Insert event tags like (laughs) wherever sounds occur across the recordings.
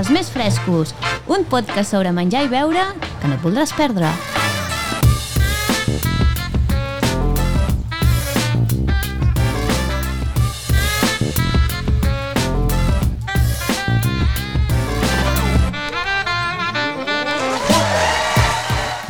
Els més frescos, un podcast sobre menjar i beure que no et voldràs perdre.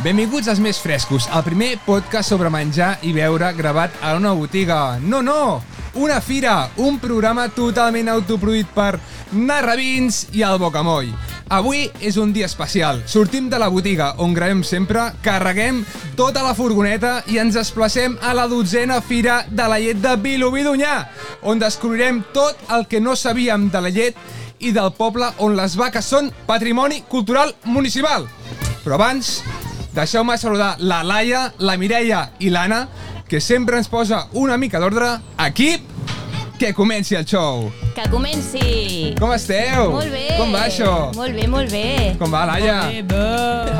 Benvinguts als Més Frescos, el primer podcast sobre menjar i beure gravat a una botiga. No, no! Una fira, un programa totalment autoproduït per Narrabins i el Bocamoll. Avui és un dia especial. Sortim de la botiga, on gravem sempre, carreguem tota la furgoneta i ens desplacem a la dotzena fira de la llet de Vilobí d'Onyar, on descobrirem tot el que no sabíem de la llet i del poble on les vaques són patrimoni cultural municipal. Però abans, Deixeu-me saludar la Laia, la Mireia i l'Anna, que sempre ens posa una mica d'ordre. Equip, que comenci el show! Que comenci! Com esteu? Molt bé! Com va això? Molt bé, molt bé. Com va, Laia?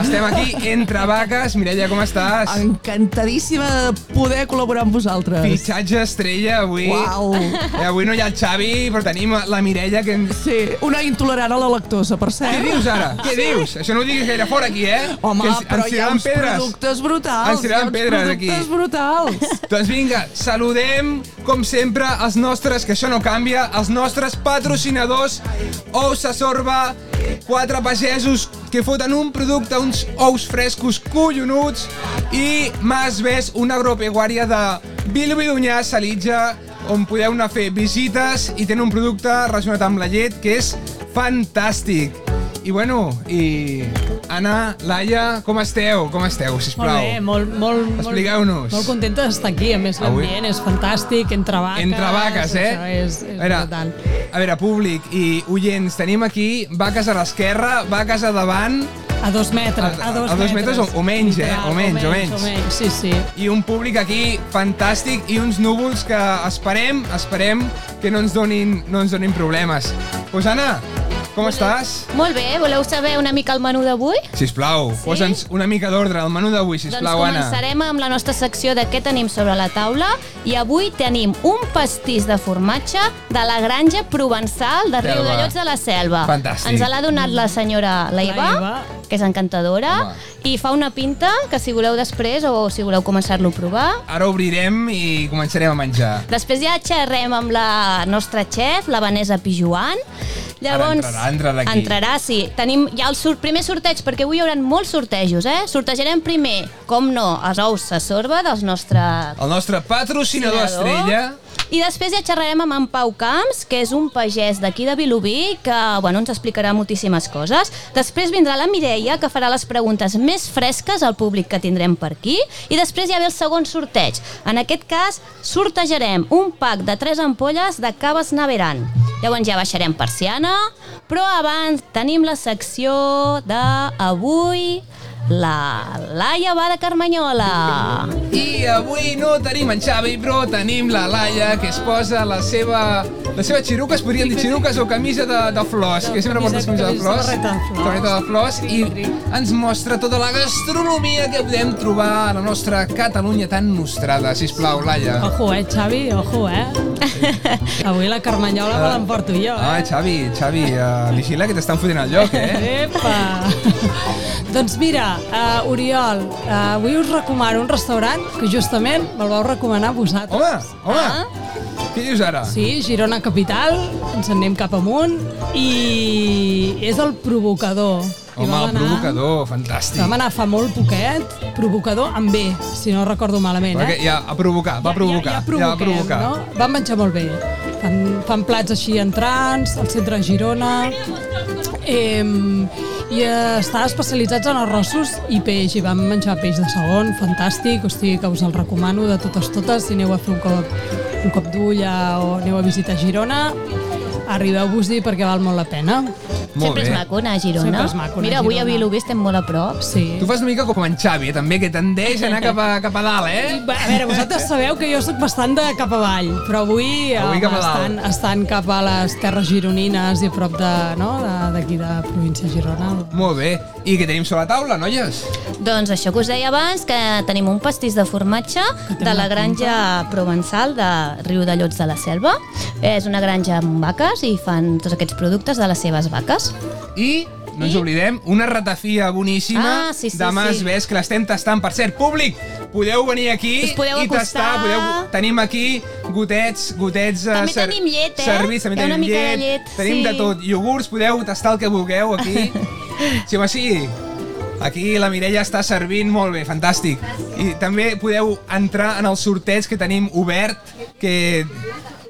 Estem aquí entre vaques. Mireia, com estàs? Ah. Encantadíssima de poder col·laborar amb vosaltres. Fitxatge estrella avui. Uau. Eh, avui no hi ha el Xavi, però tenim la Mireia que ens... Sí, una intolerant a la lactosa, per Què cert. dius ara? Què dius? Això no ho diguis gaire fort aquí, eh? Home, Que ens- ens però hi ha tiraran uns productes brutals. Ens tiraran hi ha uns pedres aquí. productes brutals. Doncs vinga, saludem, com sempre, els nostres, que això no canvia, els nostres patrocinadors, Ous a Sorba, quatre pagesos que foten un producte, uns ous frescos collonuts, i Mas Ves, una agropeguària de Bilbi d'Unyà, Salitja, on podeu anar a fer visites i tenen un producte relacionat amb la llet que és fantàstic. I bueno, i Anna, Laia, com esteu? Com esteu, sisplau? Molt bé, molt, molt, molt- Expliqueu-nos. Molt contenta d'estar aquí, a més Avui- l'ambient és fantàstic, entre vaques... Entre vaques, eh? Això és, és a, veure, important. a veure, públic i oients, tenim aquí vaques a l'esquerra, vaques a davant A dos metres, A- a, dos, a dos metres o- o menys, eh? O menys, o menys. o menys. Sí, sí. i un públic aquí fantàstic i uns núvols que esperem, esperem que no ens donin, no ens donin problemes. Pues Anna, com estàs? Molt bé, voleu saber una mica el menú d'avui? Sisplau, Sí? posa'ns una mica d'ordre al menú d'avui, Doncs sisplau, Anna. començarem amb la nostra secció de què tenim sobre la taula i avui tenim un pastís de formatge de la granja provençal de Riu Selva. de Llots de la Selva. Fantàstic. Ens l'ha donat la senyora Laiva, La Eva. que és encantadora, Home. i fa una pinta que si voleu després o si voleu començar-lo a provar, Ara obrirem i començarem a menjar. Després ja xerrem amb la nostra xef, la Vanessa Pijuan. Llavors, entrarà, entrarà aquí. entrarà, sí. Tenim ja el sur primer sorteig, perquè avui hi haurà molts sortejos, eh? Sortejarem primer, com no, els ous a sorba dels nostres... El nostre patrocinador estrella, I després ja xerrarem amb en Pau Camps, que és un pagès d'aquí de Vilobí, que bueno, ens explicarà moltíssimes coses. Després vindrà la Mireia, que farà les preguntes més fresques al públic que tindrem per aquí. I després ja ve el segon sorteig. En aquest cas, sortejarem un pack de 3 ampolles de caves Naveran. Llavors ja baixarem persiana, però abans tenim la secció d'avui... La Laia va de Carmanyola. I avui no tenim en Xavi, però tenim la Laia, que es posa la seva, la seva xiruca, es podrien dir xiruques o camisa de, de flors, que sempre portes camisa de flors, Samarreta de flors. samarreta de flors, i ens mostra tota la gastronomia que podem trobar a la nostra Catalunya tan nostrada. Sisplau, Laia. Ojo, eh, Xavi, ojo, eh? Avui la Carmanyola me l'emporto jo, eh? Ah, Xavi, Xavi, uh, vigila que t'estan fotent al lloc, (laughs) eh? Epa! doncs mira, uh, Oriol, uh, avui us recomano un restaurant que justament me'l vau recomanar vosaltres. Home, home, Ah. què dius ara? Sí, Girona Capital, ens en anem cap amunt i és el provocador. I Home, vam el provocador, fantàstic. Vam anar fa molt poquet, provocador amb B, si no recordo malament, Perquè eh? ja, a provocar, va provocar, ja, ja, va provocar. No? Van menjar molt bé. Fan, fan plats així entrants, al centre de Girona... Eh, I eh, està especialitzats en arrossos i peix, i vam menjar peix de segon, fantàstic, o sigui que us el recomano de totes totes, si aneu a fer un cop, un cop d'ull a- o aneu a visitar Girona, arribeu-vos-hi perquè val molt la pena. Molt Sempre bé. és maco anar a Girona. Sempre és maco anar a Mira, avui a Girona. Vilobí estem molt a prop. Sí. Tu fas una mica com en Xavi, eh, també, que tendeix a anar cap a, cap a dalt, eh? Va, A veure, vosaltres sabeu que jo sóc bastant de cap avall, però avui, eh, Avui cap a estan, estan cap a les terres gironines i a prop de, no, de- d'aquí de, de província de Girona. Molt bé. I què tenim sobre la taula, noies? Doncs això que us deia abans, que tenim un pastís de formatge de la granja provençal de Riu de Llots de la Selva. És una granja amb vaques i fan tots aquests productes de les seves vaques. i no ens I? oblidem, una ratafia boníssima Ah, sí, sí, de Mas sí. Ves, que l'estem tastant. Per cert, públic, podeu venir aquí Us podeu i tastar. acostar. Podeu... Tenim aquí gotets, gotets... eh, També tenim llet, eh? Servits, també Hi ha una tenim mica de llet. llet, Tenim sí. de tot. Iogurts, podeu tastar el que vulgueu (laughs) aquí. Si va així, aquí la Mireia està servint molt bé, fantàstic. I també podeu entrar en el sorteig que tenim obert, que,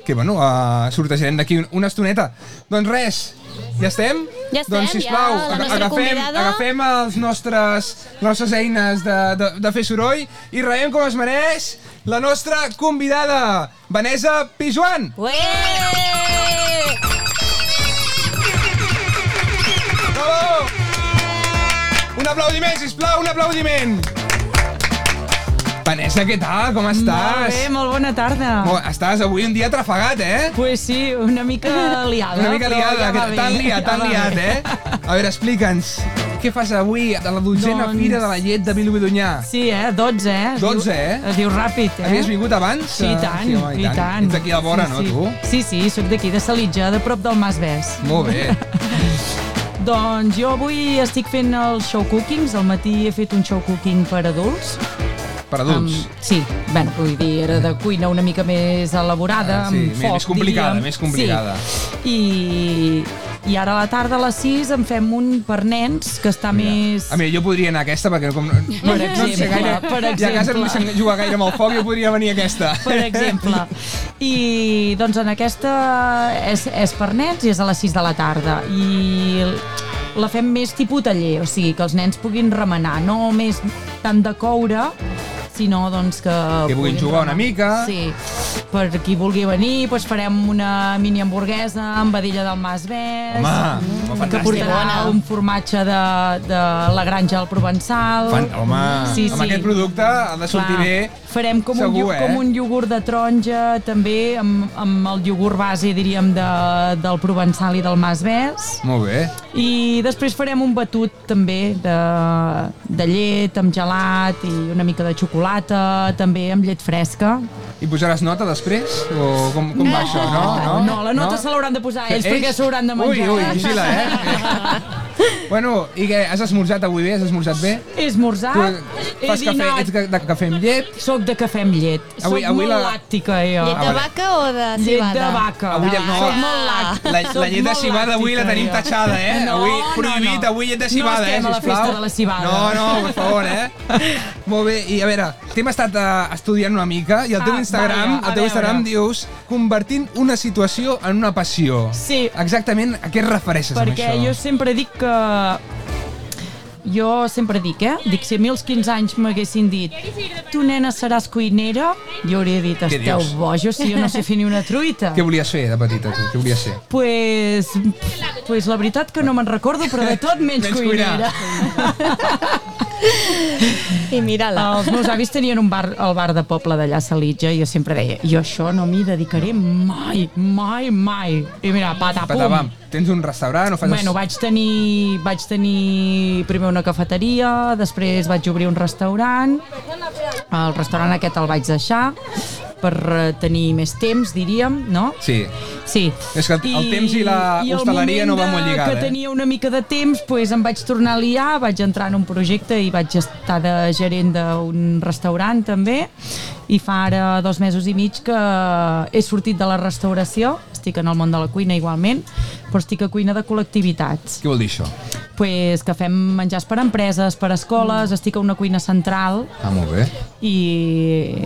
que bueno, uh, sortejarem d'aquí un- una estoneta. Doncs res, ja estem? Ja estem, doncs, sisplau, ja, la aga- nostra agafem, convidada. agafem els nostres, les nostres eines de, de, de fer soroll i rebem com es mereix la nostra convidada, Vanessa Pijuan. Ué! Bravo! Un aplaudiment, sisplau, un aplaudiment! Vanessa, què tal? Com Molt estàs? bé, molt bona tarda. Mo- Estàs avui un dia trafegat, eh? Pues sí, una mica liada. Una mica però liada, ja va que bé. tan liat, tan Ja va liat, bé. eh? A veure, explica'ns, què fas avui a la dotzena Doncs- fira de la llet de Vilobidonyà? Sí, eh? 12, eh? 12, eh? Es diu ràpid, eh? Havies vingut abans? Ah, Sí, i tant, sí, home, i tant. Ets aquí a la vora, sí, no, sí. tu? Sí, sí, sóc d'aquí, de Salitja, de prop del Mas Bes. Molt bé. Doncs jo avui estic fent el show cookings, al matí he fet un show cooking per adults. Per adults. Amb- sí, bueno, vull dir, era de cuina una mica més elaborada, Ah, sí, amb més- foc, més complicada, diríem. més complicada. Sí. I, I ara a la tarda a les 6 en fem un per nens, que està més... A mi, jo podria anar a aquesta perquè com... Per no en sé exemple, gaire, per ja a casa no exemple. sé jugar gaire amb el foc, jo podria venir a aquesta. per (laughs) exemple. I doncs en aquesta és, és per nens i és a les 6 de la tarda. I la fem més tipus taller, o sigui, que els nens puguin remenar, no més tant de coure, sinó doncs que... Que puguin jugar una mica. Sí. Per qui vulgui venir, doncs farem una mini hamburguesa amb vedella del Mas Bes. Home, home que fantàstic. portarà un formatge de, de la granja del Provençal. Fan, home, Sí, sí, sí. amb sí. aquest producte ha de sortir Clar, bé. Farem com, segur, un, iog- eh? com un iogurt de taronja, també amb, amb el iogurt base, diríem, de, del Provençal i del Mas Bes. Molt bé. I després farem un batut també de, de llet amb gelat i una mica de xocolata, també amb llet fresca. I posaràs nota després? O com, com va això? No, (laughs) no, Ah, Eh, no la nota se l'hauran de posar ells, perquè s'hauran de menjar. Ui, ui, vigila, eh? bueno, i què, has esmorzat avui bé? Has esmorzat bé? (laughs) He esmorzat, tu Ah, he fas cafè, dinat, ets ca- de cafè amb llet? soc de cafè amb llet. Soc Avui- avui molt la- làctica, eh, jo. Ah, Llet de vale. vaca o de Llet cibada? de vaca. Avui ja no. Soc molt làctica. La, la Soc llet de molt cibada avui la làctica, tenim jo. tachada, eh? No, avui no, prohibit, no. avui llet de No cibada, eh? estem a la sisplau. festa de la cibada. No, no, per favor, (laughs) eh? Molt bé, i a veure, t'hem estat eh, estudiant una mica i el teu Ah, Instagram, vaja, a el teu Instagram veure. dius convertint una situació en una passió. Sí. Exactament a què et refereixes Perquè amb jo això? sempre dic que... Jo sempre dic, eh? Dic, si a mi als 15 anys m'haguessin dit tu, nena, seràs cuinera, jo hauria dit, Què esteu dius? bojos, si jo no sé fer ni una (laughs) truita. Què volies fer de petita, tu? Què volies ser? Pues, pues la veritat que no me'n recordo, però de tot menys, Menys cuinar. cuinera. (laughs) I mira-la. Els meus avis tenien un bar, el bar de poble d'allà a Salitja i jo sempre deia, jo a això no m'hi dedicaré mai, mai, mai. I mira, patapum. Patapam, tens un restaurant o fas... Bueno, vaig tenir, vaig tenir primer una cafeteria, després vaig obrir un restaurant. El restaurant aquest el vaig deixar per eh, tenir més temps, diríem, no? Sí. Sí. És que el temps i la i el hostaleria no moment van molt de- lligada, eh? Que tenia una mica de temps, doncs em vaig tornar a liar, vaig entrar en un projecte i vaig estar de gerent d'un restaurant també i fa ara dos mesos i mig que he sortit de la restauració, estic en el món de la cuina igualment, però estic a cuina de col·lectivitats Què vol dir això? pues, que fem menjars per empreses, per escoles, estic a una cuina central Ah, molt bé. i,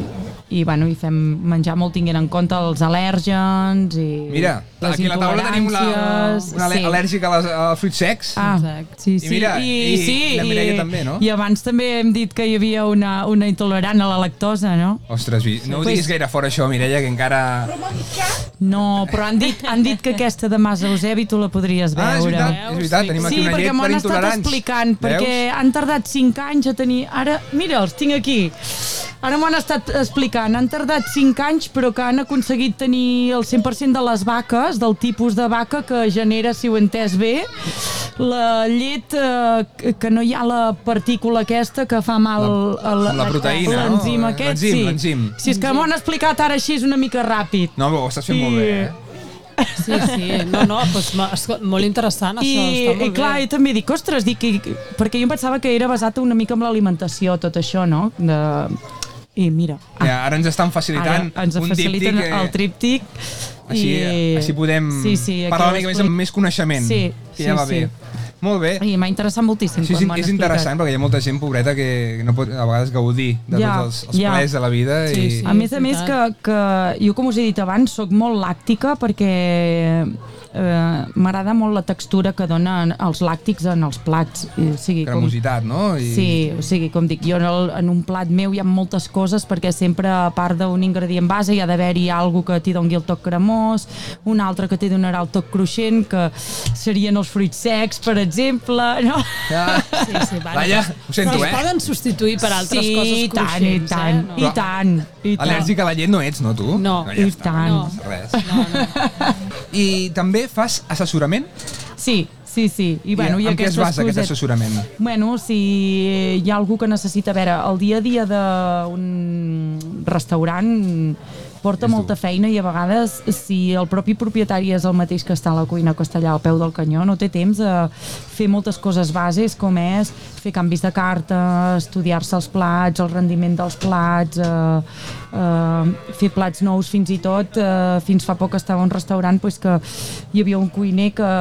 i, bueno, i fem menjar molt tinguent en compte els al·lèrgens i Mira, les aquí a la taula tenim la, intoleràncies. una ale- al·lèrgica als, als fruits secs. Ah, Exacte. sí, sí. mira, i la Mireia també, no? I abans també hem dit que hi havia una, una intolerant a la lactosa, no? Ostres, vi- no ho diguis gaire fora això, Mireia, que encara... No, però han dit, han dit que aquesta de Mas Eusebi tu la podries veure. Ah, és veritat, és veritat, tenim aquí Sí, una perquè llet m'ho per han estat intolerants. explicant, perquè han tardat 5 anys a tenir... Ara, mira, els tinc aquí. Ara m'ho han estat explicant. Han tardat 5 anys, però que han aconseguit tenir el 100% de les vaques, del tipus de vaca que genera, si ho he entès bé, la llet eh, que- que no hi ha la partícula aquesta que fa mal... La- a la proteïna, no? L'enzim aquest, L'enzim, sí. l'enzim. Si és que m'ho han explicat ara així, és una mica ràpid. No, però ho estàs fent molt bé, eh? I, Sí, sí, no, no, doncs, ma- esco- molt interessant I, això, està molt i clar, bé. i també dic, ostres, dic, i, perquè jo em pensava que era basat una mica en l'alimentació, tot això, no? De... I mira, Ja, ara ens estan facilitant Ah. ara ens un faciliten díptic, eh, el tríptic. Així, i... així podem sí, sí, aquí parlar ho una mica més explico. amb més coneixement. Sí, que ja sí, va sí. bé. Molt bé. Ai, m'ha interessat moltíssim. Això és, quan m'ho han és explicat. interessant perquè hi ha molta gent pobreta que no pot a vegades gaudir de Ja, tots els, els ja. plaers de la vida Sí, i sí. A més a és més que, que jo, com us he dit abans, sóc molt làctica perquè eh, m'agrada molt la textura que donen els làctics en els plats. I, o sigui, com, cremositat, no? I, Sí, o sigui, com dic, jo en, el, en un plat meu hi ha moltes coses perquè sempre a part d'un ingredient base hi ha d'haver-hi algú que t'hi doni el toc cremós, un altre que t'hi donarà el toc cruixent, que serien els fruits secs, per exemple, no? Ja. Sí, sí, vale. Laia, ho sento, Però eh? es poden substituir per altres sí, coses i tant, i cruixents, tant, eh? i tant, i tant. Al·lèrgica a la llet no ets, no, tu? No, ja i està, tant. No. passa Res. No, no, no. I també fas assessorament? Sí, sí, sí. I, bueno, i en què es aquestes basa aquest cosetes- assessorament? Bueno, si hi ha algú que necessita, a veure, el dia a dia d'un restaurant porta És dur. molta feina i a vegades si el propi propietari és el mateix que està a la cuina que està allà al peu del canyó no té temps a fer moltes coses bases com és fer canvis de carta estudiar-se els plats, el rendiment dels plats eh, eh, fer plats nous fins i tot eh, fins fa poc estava a un restaurant pues, que hi havia un cuiner que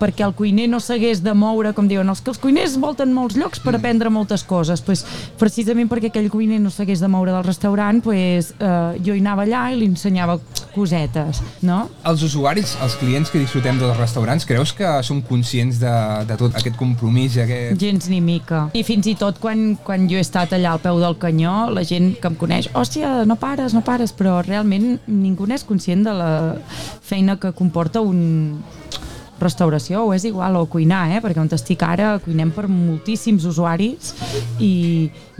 perquè el cuiner no s'hagués de moure com diuen, els que els cuiners volten molts llocs per aprendre moltes coses pues, precisament perquè aquell cuiner no s'hagués de moure del restaurant pues, eh, jo hi anava allà i li ensenyava cosetes no? Els usuaris, els clients que disfrutem dels restaurants, creus que són conscients de, de tot aquest compromís i aquest... Gens ni mica. I fins i tot quan, quan jo he estat allà al peu del canyó, la gent que em coneix, hòstia, no pares, no pares, però realment ningú n'és conscient de la feina que comporta un restauració, o és igual, o cuinar, eh? perquè on estic ara cuinem per moltíssims usuaris i,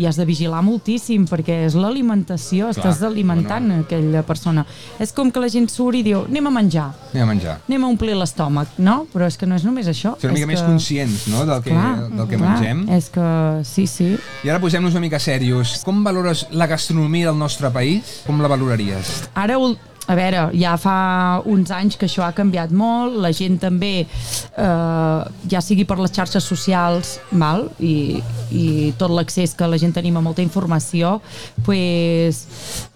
i has de vigilar moltíssim perquè és l'alimentació, estàs alimentant bueno. aquella persona. És com que la gent surt i diu, anem a menjar, Anem a menjar. anem a omplir l'estómac, no? Però és que no és només això. Ser una mica és més que... conscients no? del que, del que mengem. És que sí, sí. I ara posem-nos una mica serios. Com valores la gastronomia del nostre país? Com la valoraries? Ara, ul- a veure, ja fa uns anys que això ha canviat molt, la gent també, eh, ja sigui per les xarxes socials, val? I, i tot l'accés que la gent tenim a molta informació, pues,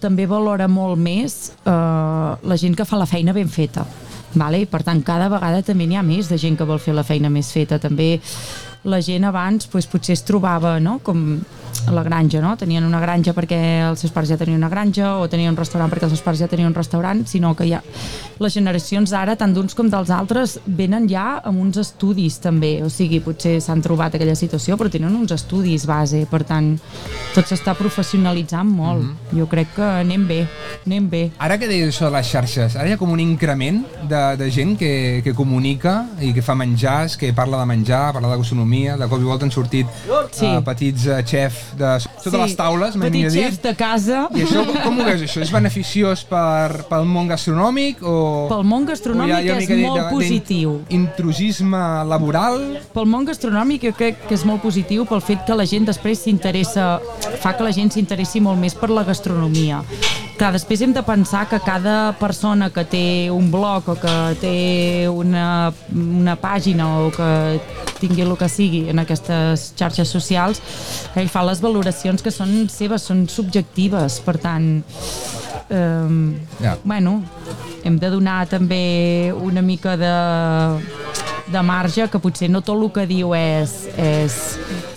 també valora molt més eh, la gent que fa la feina ben feta. Vale? I per tant, cada vegada també n'hi ha més de gent que vol fer la feina més feta. També la gent abans doncs, potser es trobava no? com a la granja, no? tenien una granja perquè els seus pares ja tenien una granja o tenien un restaurant perquè els seus pares ja tenien un restaurant sinó que ja les generacions d'ara tant d'uns com dels altres venen ja amb uns estudis també o sigui, potser s'han trobat aquella situació però tenen uns estudis base per tant tot s'està professionalitzant molt mm Mm-hmm. -hmm. jo crec que anem bé anem bé Ara que deies això de les xarxes, ara hi ha com un increment de, de gent que, que comunica i que fa menjars, que parla de menjar, parla de gastronomia, de cop i volta han sortit Sí. eh, petits eh, xef de totes Sí, les taules, m'hem petits dit. xefs de casa I això, com, com ho veus, això? És beneficiós per, pel món gastronòmic o... pel món gastronòmic o hi ha- hi ha una és mica de- molt de- positiu. Intrusisme laboral... pel món gastronòmic jo crec que és molt positiu pel fet que la gent després s'interessa fa que la gent s'interessi molt més per la gastronomia Clar, després hem de pensar que cada persona que té un blog o que té una, una pàgina o que tingui el que sigui en aquestes xarxes socials ell fa les valoracions que són seves, són subjectives, per tant eh, Ja. bueno, hem de donar també una mica de, de marge, que potser no tot el que diu és, és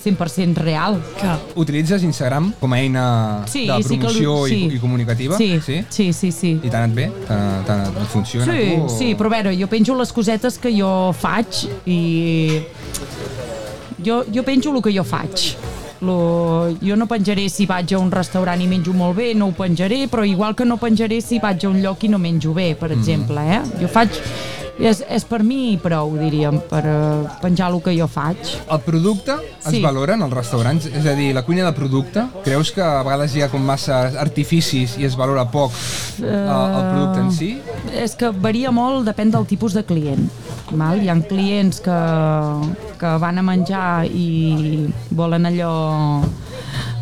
100% real. Que, Utilitzes Instagram com a eina Sí, de sí que l'u- promoció i, sí. i comunicativa? Sí, sí, sí. sí. I tant et ve? Tant, tant et funciona? Sí, a tu, o- sí, però a veure, jo penjo les cosetes que jo faig i... Jo, jo penjo el que jo faig. Lo, jo no penjaré si vaig a un restaurant i menjo molt bé, no ho penjaré, però igual que no penjaré si vaig a un lloc i no menjo bé, per Mm. exemple, eh? Jo faig... És, és per mi i prou, diríem, per eh, penjar el que jo faig. El producte es sí. Sí. valora en els restaurants? És a dir, la cuina de producte, creus que a vegades hi ha com massa artificis i es valora poc uh... el producte eh. en si? És que varia molt, depèn del tipus de client. Val? Hi ha clients que, que van a menjar i volen allò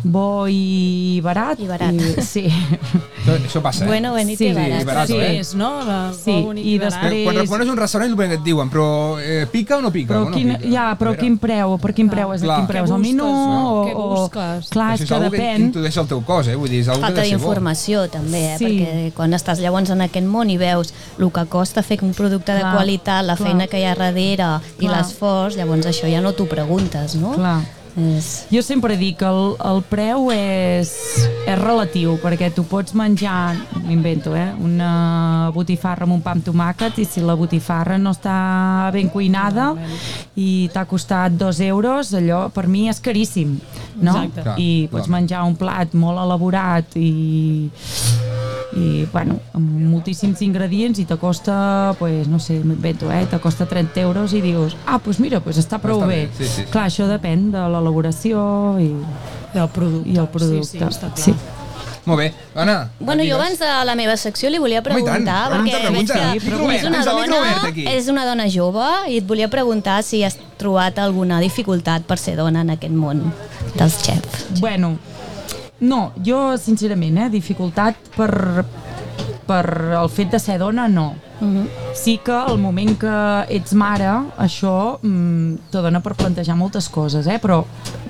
bo i barat. I barat. I, sí. Això, això passa, eh? Bueno, bonito Sí, y barato. és barat, Sí, eh? és, no? La, Sí, i Quan- després- Barat. Quan recomanes un restaurant és el que et diuen, però eh, pica o no pica? Però, o no quin, pica? ja, però A veure, quin preu? Per quin preu és? Clar. Quin preu és el Què menú? busques, no? O, Què busques? O, clar, Això és és que una que depèn. introdueix el teu cos, eh? Vull dir, és algo Falta que ha de ser bo. d'informació també, eh? Sí. perquè quan estàs llavors en aquest món i veus el que costa fer un producte de Clar, qualitat, la clar. feina que hi ha darrere i Clar. l'esforç, llavors això ja no t'ho preguntes, no? Clar. És... Jo sempre dic que el, el preu és, és relatiu, perquè tu pots menjar, m'invento, eh, una botifarra amb un pa amb tomàquet i si la botifarra no està ben cuinada i t'ha costat dos euros, allò per mi és caríssim, no? Exacte. Clar, I pots clar. menjar un plat molt elaborat i i, bueno, amb moltíssims ingredients i t'acosta, pues, no sé, m'invento, eh? t'acosta 30 euros i dius, ah, doncs mira, pues està prou Està bé. bé, sí, sí, sí. Clar, això depèn de l'elaboració i, I el producte. i el producte. Sí, sí, està clar. Sí. Molt bé, Anna. Bueno, jo digues. abans de la meva secció li volia Home, i tant. preguntar, Pregunta, perquè pregunta. veig Micro que obert, és una, tens el micro obert dona, aquí. és una dona jove i et volia preguntar si has trobat alguna dificultat per ser dona en aquest món dels xefs. Bueno, no, jo sincerament, eh, dificultat per, per el fet de ser dona, no. Mhm. Sí que el moment que ets mare, això mm, te dona per plantejar moltes coses, eh? però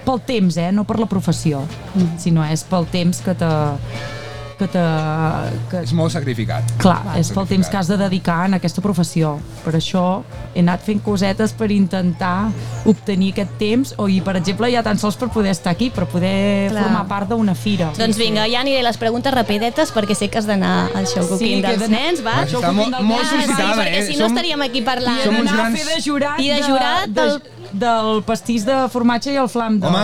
pel temps, eh? no per la professió, Mhm. sinó és pel temps que te... Que te que, És molt sacrificat. Clar, és pel temps que has de dedicar en aquesta professió. Per això he anat fent cosetes per intentar obtenir aquest temps, o i, per exemple, ja tan sols per poder estar aquí, per poder Clar. Clar. formar part d'una fira. Doncs vinga, ja aniré a les preguntes rapidetes perquè sé que has d'anar al showcooking Sí, sí, que he dels d'anar- nens, va? Ah, Va, Això està ho molt, tinc al molt cas, sol·licitada, sí, eh? perquè si no estaríem aquí parlant. som uns Anar a grans- fer de jurat, I de jurat de, del- del... del pastís de formatge i el flam. de- Home,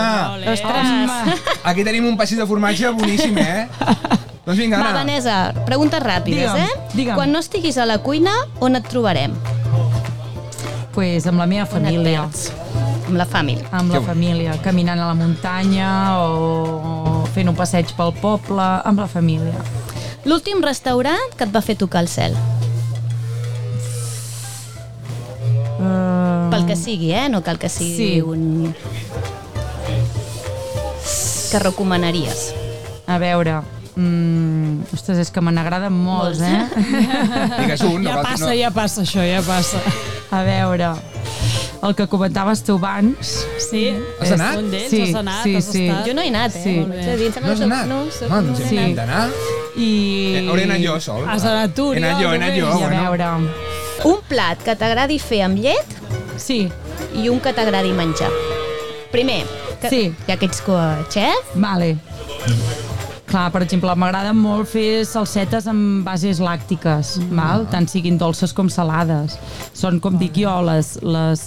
Home. aquí tenim un passi de formatge boníssim, eh? doncs vinga, Va, Anna. Vanessa, preguntes ràpides, Digue'm, eh? digue'm. Quan no estiguis a la cuina, on et trobarem? pues amb la meva On et família. perds? Amb la família. Amb Que la bo. família, caminant a la muntanya o o fent un passeig pel poble, amb la família. L'últim restaurant que et va fer tocar el cel. Uh, Pel que sigui, eh? No cal que sigui Sí. un... que recomanaries. A veure... Mm, ostres, és que me n'agraden molts, (laughs) eh? Digues un. no Ja val- passa, no- ja passa això, ja passa. A veure... El que comentaves tu abans... eh, Sí? Has anat? Un d'ells, Sí, has anat, sí, has sí. estat... Jo no he anat, eh? Sí. Molt bé. T'he dit, em sembla No has que soc- anat? No, soc, No, no, no, he sí. anat. hem d'anar. I... Eh, Hauria anat jo sol. Has anat tu, He anat Oriol, jo, he anat jo. I a Bueno, veure... Un plat que t'agradi fer amb llet Sí, i un que t'agradi menjar. Primer, que, Sí. ja que ets co- xef, vale. Clar, per exemple, m'agrada molt fer salsetes amb bases làctiques, val? tant siguin dolces com salades. Són, com dic jo, les, les,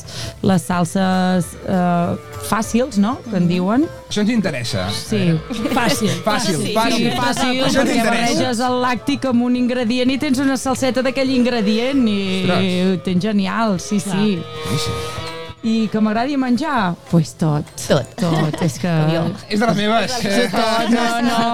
les salses eh, fàcils, no?, que en diuen. això ens interessa. Sí. (laughs) Fàcil. Fàcil, fàcil. Sí, fàcil, Això ens perquè interessa. barreges el làctic amb un ingredient i tens una salseta d'aquell ingredient i, Ostres. i ho tens genial, sí, Clar. sí. Boníssim. I que m'agradi menjar? Doncs pues tot. Tot. Tot, és que... jo. És de les meves. eh? Tot, no, no.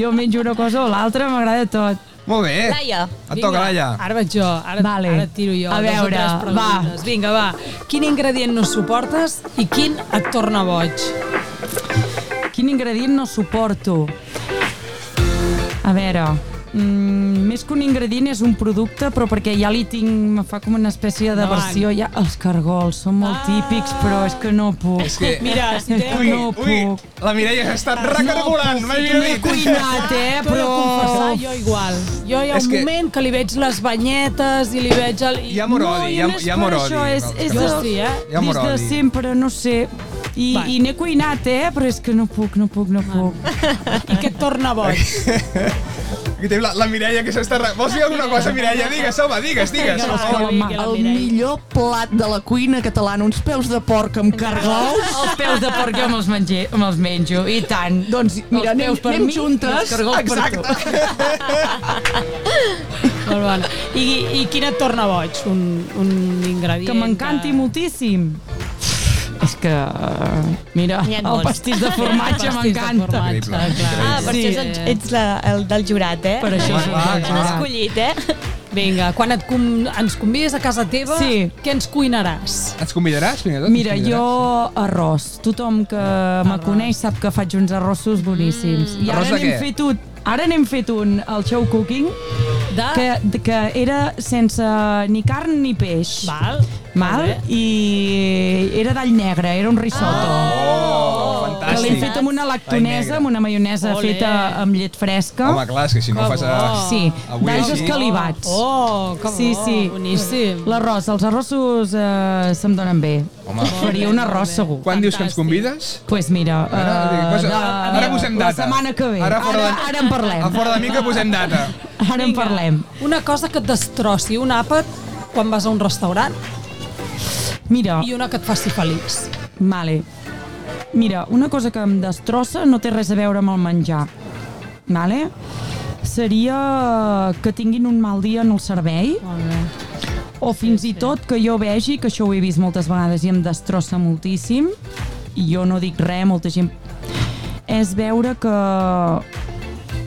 Jo menjo una cosa o l'altra, m'agrada tot. (laughs) Molt bé. Laia, Et toca, Laia. Ara vaig jo, ah, ara, Vale. ara et tiro jo. A dos o veure, tres preguntes. Vinga, va. Quin ingredient no suportes i quin et torna boig? Quin ingredient no suporto? A veure... Mm, més que un ingredient és un producte però perquè ja li tinc, me fa com una espècie de Endavant. versió, ja, els cargols són molt Ah. típics però és que no puc És que... Mira, si té... Ui, no ui, puc. la Mireia s'està recargolant. No, Jo m'he (laughs) cuinat, eh, T'ho he de confessar, però... jo igual. Jo hi ha És un que- moment que li veig les banyetes i li veig... El... Hi ha amor No, odi, i hi ha, només hi ha amor per odi. això és- és Jo de- sí, eh? Hi ha Des amor de odi. sempre, no sé. I, Va. i n'he cuinat, eh? Però és que no puc, no puc, no puc. I què et torna boig? Aquí té la, la Mireia que s'està... re- Vols dir alguna cosa, Mireia? Digues, home, digues, digues. Vinga, Home, va, vinga, Ah, El Mireia. millor plat de la cuina catalana, uns peus de porc amb cargols. Els peus de porc jo me'ls menjo, me'ls menjo i tant. Doncs mira, anem, peus per anem mi i els juntes. cargols per tu. Exacte. Molt bona. I, I quin et torna boig? Un, un ingredient... Que m'encanti moltíssim. És que, eh, mira, N'hi ha el molts. pastís de (laughs) formatge Pastís de m'encanta. formatge, Increïble. clar. Ah, per Sí. això ets, ets la, el del jurat, eh? Per això Ah, Home, és clar, un clar. Escollit, eh? Vinga, quan et com, ens convides a casa teva, Sí. què ens cuinaràs? Ens convidaràs, fins i tot? Mira, Ens jo convidaràs? arròs. Tothom que me coneix sap que faig uns arrossos boníssims. I Arròs ara de n'hem què? fet un, ara n'hem fet un al show cooking De... que, que era sense ni carn ni peix. Val. Mal? I era d'all negre, era un risotto. Oh, que l'hem fet fantàstic. amb una negre. lactonesa, amb una maionesa Olé. feta amb llet fresca. Home, clar, és que si no ho fas... A... bo. sí, avui d'alls així. escalivats. Oh, que bo, Sí, sí. boníssim. L'arròs, els arrossos eh, se'm donen bé. Home. Faria un arròs segur. Quan dius que ens Fantàstic. convides? Pues mira, Ara, eh, posa- de- ara posem la data. setmana que ve. Ara fora ara, de- ara en parlem. A fora de mi que posem data. Ara en Vinga, parlem. Una cosa que et destrossi, un àpat quan vas a un restaurant Mira, i una que et faci feliç. Vale. Mira, una cosa que em destrossa no té res a veure amb el menjar. Vale? Seria que tinguin un mal dia en el servei Molt bé. o fins i tot que jo vegi, que això ho he vist moltes vegades i em destrossa moltíssim i jo no dic res, molta gent és veure que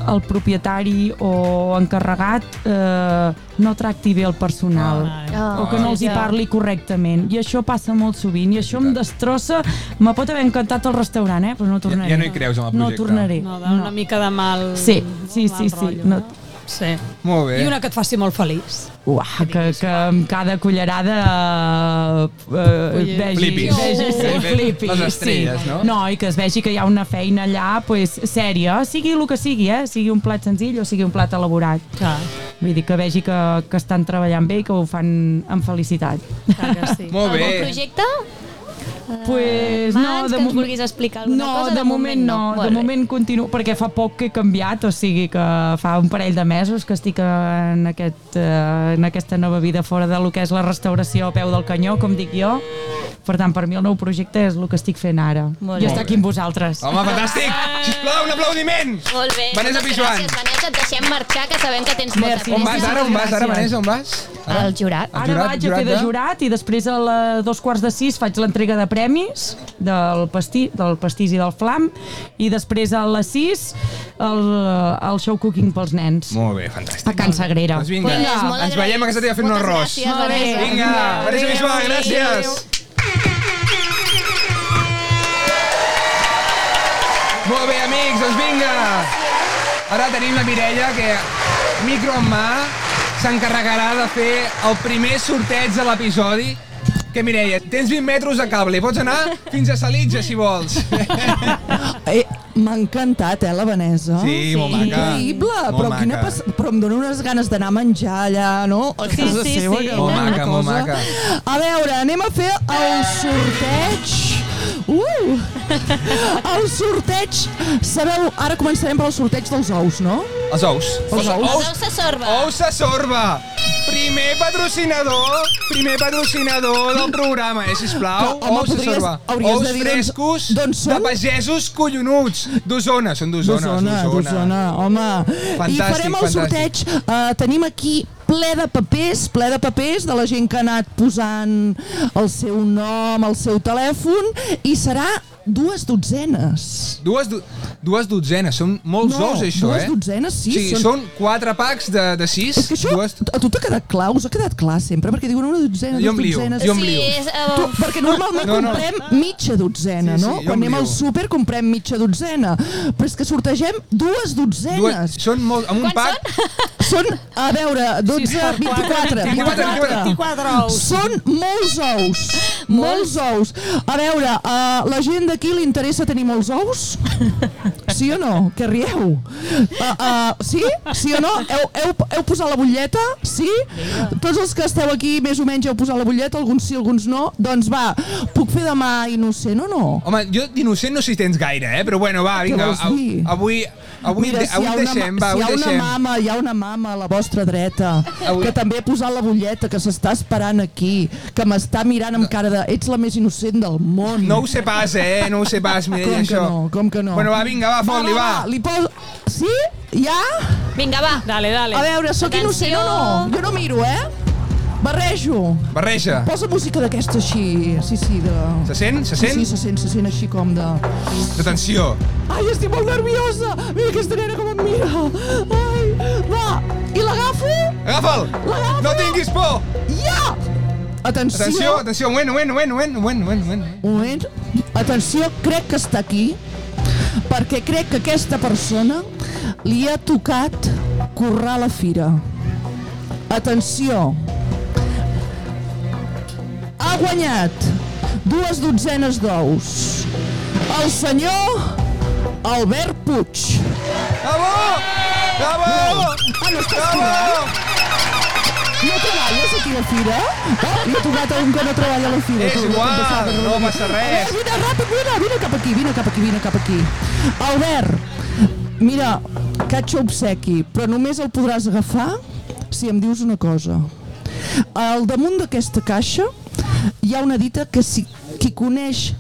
el propietari o encarregat eh, no tracti bé el personal Ah, o que no els hi ja. parli correctament. I això passa molt sovint, i això em destrossa. Me pot haver encantat el restaurant, eh? però no tornaré. ja no hi creus en el projecte. No tornaré. No, de- una mica de mal... Sí, sí, mal sí, sí, rotllo, no. no? Sí. Molt bé. I una que et faci molt feliç. Uah, que, que amb cada cullerada eh, eh, vegi... Flipis. vegi sí, Sí, ve- flipis. les estrelles, sí. no? No, i que es vegi que hi ha una feina allà pues, sèria, sigui el que sigui, eh? sigui un plat senzill o sigui un plat elaborat. Clar, Vull dir que vegi que, que estan treballant bé i que ho fan amb felicitat. clar que sí. Molt bé. Algun projecte? Eh, Pues, Mans, no, de que ens mo- vulguis explicar alguna no, cosa? De, moment, no, Molt de bé. moment continuo, perquè fa poc que he canviat, o sigui que fa un parell de mesos que estic en, aquest, eh, en aquesta nova vida fora de lo que és la restauració a peu del canyó, com dic jo. Per tant, per mi el nou projecte és el que estic fent ara. Molt I bé. estar aquí amb vosaltres. Home, fantàstic! Sisplau, un aplaudiment! Molt bé. Vanessa moltes Pijuan. Gràcies, Vanessa. Et deixem marxar, que sabem que tens molta Merci. On pressa. vas ara? On vas ara, Gràcies. Vanessa? On vas? Ara? Al jurat. Al Ara vaig a fer de ja? jurat i després a les dos quarts de sis faig l'entrega de premis del, pastí, del pastís i del flam i després a les sis el, el show cooking pels nens Molt bé, fantàstic. a Can Sagrera. Doncs vinga, Vinga, és molt ens veiem a casa teva fent un Moltes arròs. gràcies, Molt bé. Vanessa. Vinga, Vanessa Bisbal, gràcies! Molt bé, amics, doncs vinga! Ara tenim la Mireia, que micro en mà s'encarregarà de fer el primer sorteig de l'episodi. Que Mireia, tens 20 metres de cable, pots anar fins a Salitja, si vols. (laughs) Eh, M'ha encantat, eh, la Vanessa. Sí, molt maca. Increïble, Molt però, quina maca. pas... però em dóna unes ganes d'anar a menjar allà, no? A Sí, casa sí, seva, sí. que Molt alguna maca, molt cosa. maca. A veure, anem a fer el sorteig... Uh! El sorteig... Sabeu, ara començarem pel sorteig dels ous, no? Els ous. Els ous. Ous se sorba. Ous a sorba! Primer patrocinador, primer patrocinador del programa, eh, sisplau. Però, ous home, a podries- sorba. hauries Ous de dir, doncs, frescos d'on de són? pagesos collonuts. D'Osona, són d'Osona. D'Osona, d'Osona, home. Fantàstic, I farem el fantàstic. sorteig. Eh, tenim aquí ple de papers, ple de papers de la gent que ha anat posant el seu nom, el seu telèfon, i serà dues dotzenes. Dues, do dues dotzenes, són molts No, ous, això, dues eh? dotzenes, O sí, sigui, són- són quatre packs de, de sis. És que això, Dues... a tu t'ha quedat clar, us ha quedat clar sempre, perquè diuen una dotzena, Jo em dues lio, dotzenes... jo em Sí, lio. és... eh, Tu, perquè normalment No, no, no. no. comprem mitja dotzena, Sí, sí, no? jo Quan em anem al lio. súper comprem mitja dotzena, però és que sortegem dues dotzenes. Dues, són molt... Amb un Quants pack... Són, a veure, 12, 24, 24, 24 ous. Són molts ous, molts ous. A veure, a la gent d'aquí li interessa tenir molts ous? Sí o no? Que rieu. Uh, uh, sí? Sí o no? Heu, heu, heu posat la butlleta? Sí? Tots els que esteu aquí més o menys heu posat la butlleta, alguns sí, alguns no. Doncs va, puc fer demà innocent o no? Home, jo d'innocent no sé si tens gaire, eh? Però bueno, va, vinga, vols av- dir? avui, avui, Mira, de- si hi avui ha, una, deixem, ma- va, si hi avui ha una deixem. mama, hi ha una mama a la vostra dreta Avui- que també ha posat la butlleta, que s'està esperant aquí, que m'està mirant amb cara de ets la més innocent del món. No ho sé pas, eh? No ho sé pas, com Mireia, que això. no, com que no. Bueno, va, vinga, va, fot-li, va. Li poso... Sí? Ja? Vinga, va. Dale, dale. A veure, sóc Atenció. innocent o no? Jo no miro, eh? Barrejo. Barreja. Posa música d'aquesta així, sí, sí, de... Se sent? Se Sí, sent? se sent, se sent així com de... Atenció. Ai, estic molt nerviosa! Mira aquesta nena com em mira! Ai, va! I l'agafo? Agafa'l! L'agafo! No tinguis por! Ja! Atenció! Atenció, atenció, un moment, un moment, un moment, un moment, un moment, un moment. Un moment. Atenció, crec que està aquí, perquè crec que aquesta persona li ha tocat currar la fira. Atenció. Ha guanyat dues dotzenes d'ous. El senyor Albert Puig. Bravo! Bravo! Ah, no estàs Bravo! No treballes aquí a la fira? Oh, he trobat un que no treballa a la fira. És Tu, igual, tu pensaves, no passa res. Vine, vine, Eh, ràpid, vine, vine cap aquí, vine cap aquí, vine cap aquí. Albert, mira, catxa obsequi, però només el podràs agafar si em dius una cosa. Al damunt d'aquesta caixa hi ha una dita que si qui coneix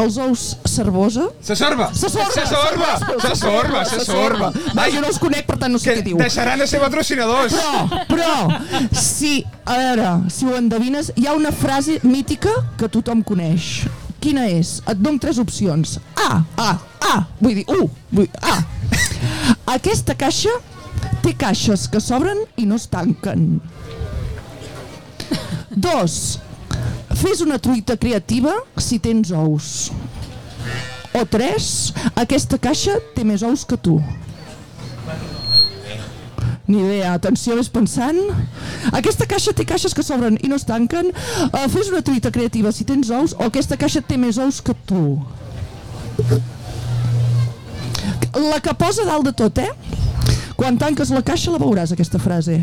els ous cervosa Se sorba! se sorba! Se sorba! Se sorba! Se sorba! Va, Ai, jo no els conec, per tant no sé que què diu. deixaran de ser patrocinadors! Però, però, si, a veure, si ho endevines, hi ha una frase mítica que tothom coneix. Quina és? Et dono tres opcions. A, A, A, vull dir, U, vull dir, A. Aquesta caixa té caixes que s'obren i no es tanquen. Dos, fes una truita creativa si tens ous. O tres, aquesta caixa té més ous que tu. Ni idea, atenció, ves pensant. Aquesta caixa té caixes que s'obren i no es tanquen. Uh, fes una truita creativa si tens ous o aquesta caixa té més ous que tu. La que posa dalt de tot, eh? Quan tanques la caixa la veuràs, aquesta frase.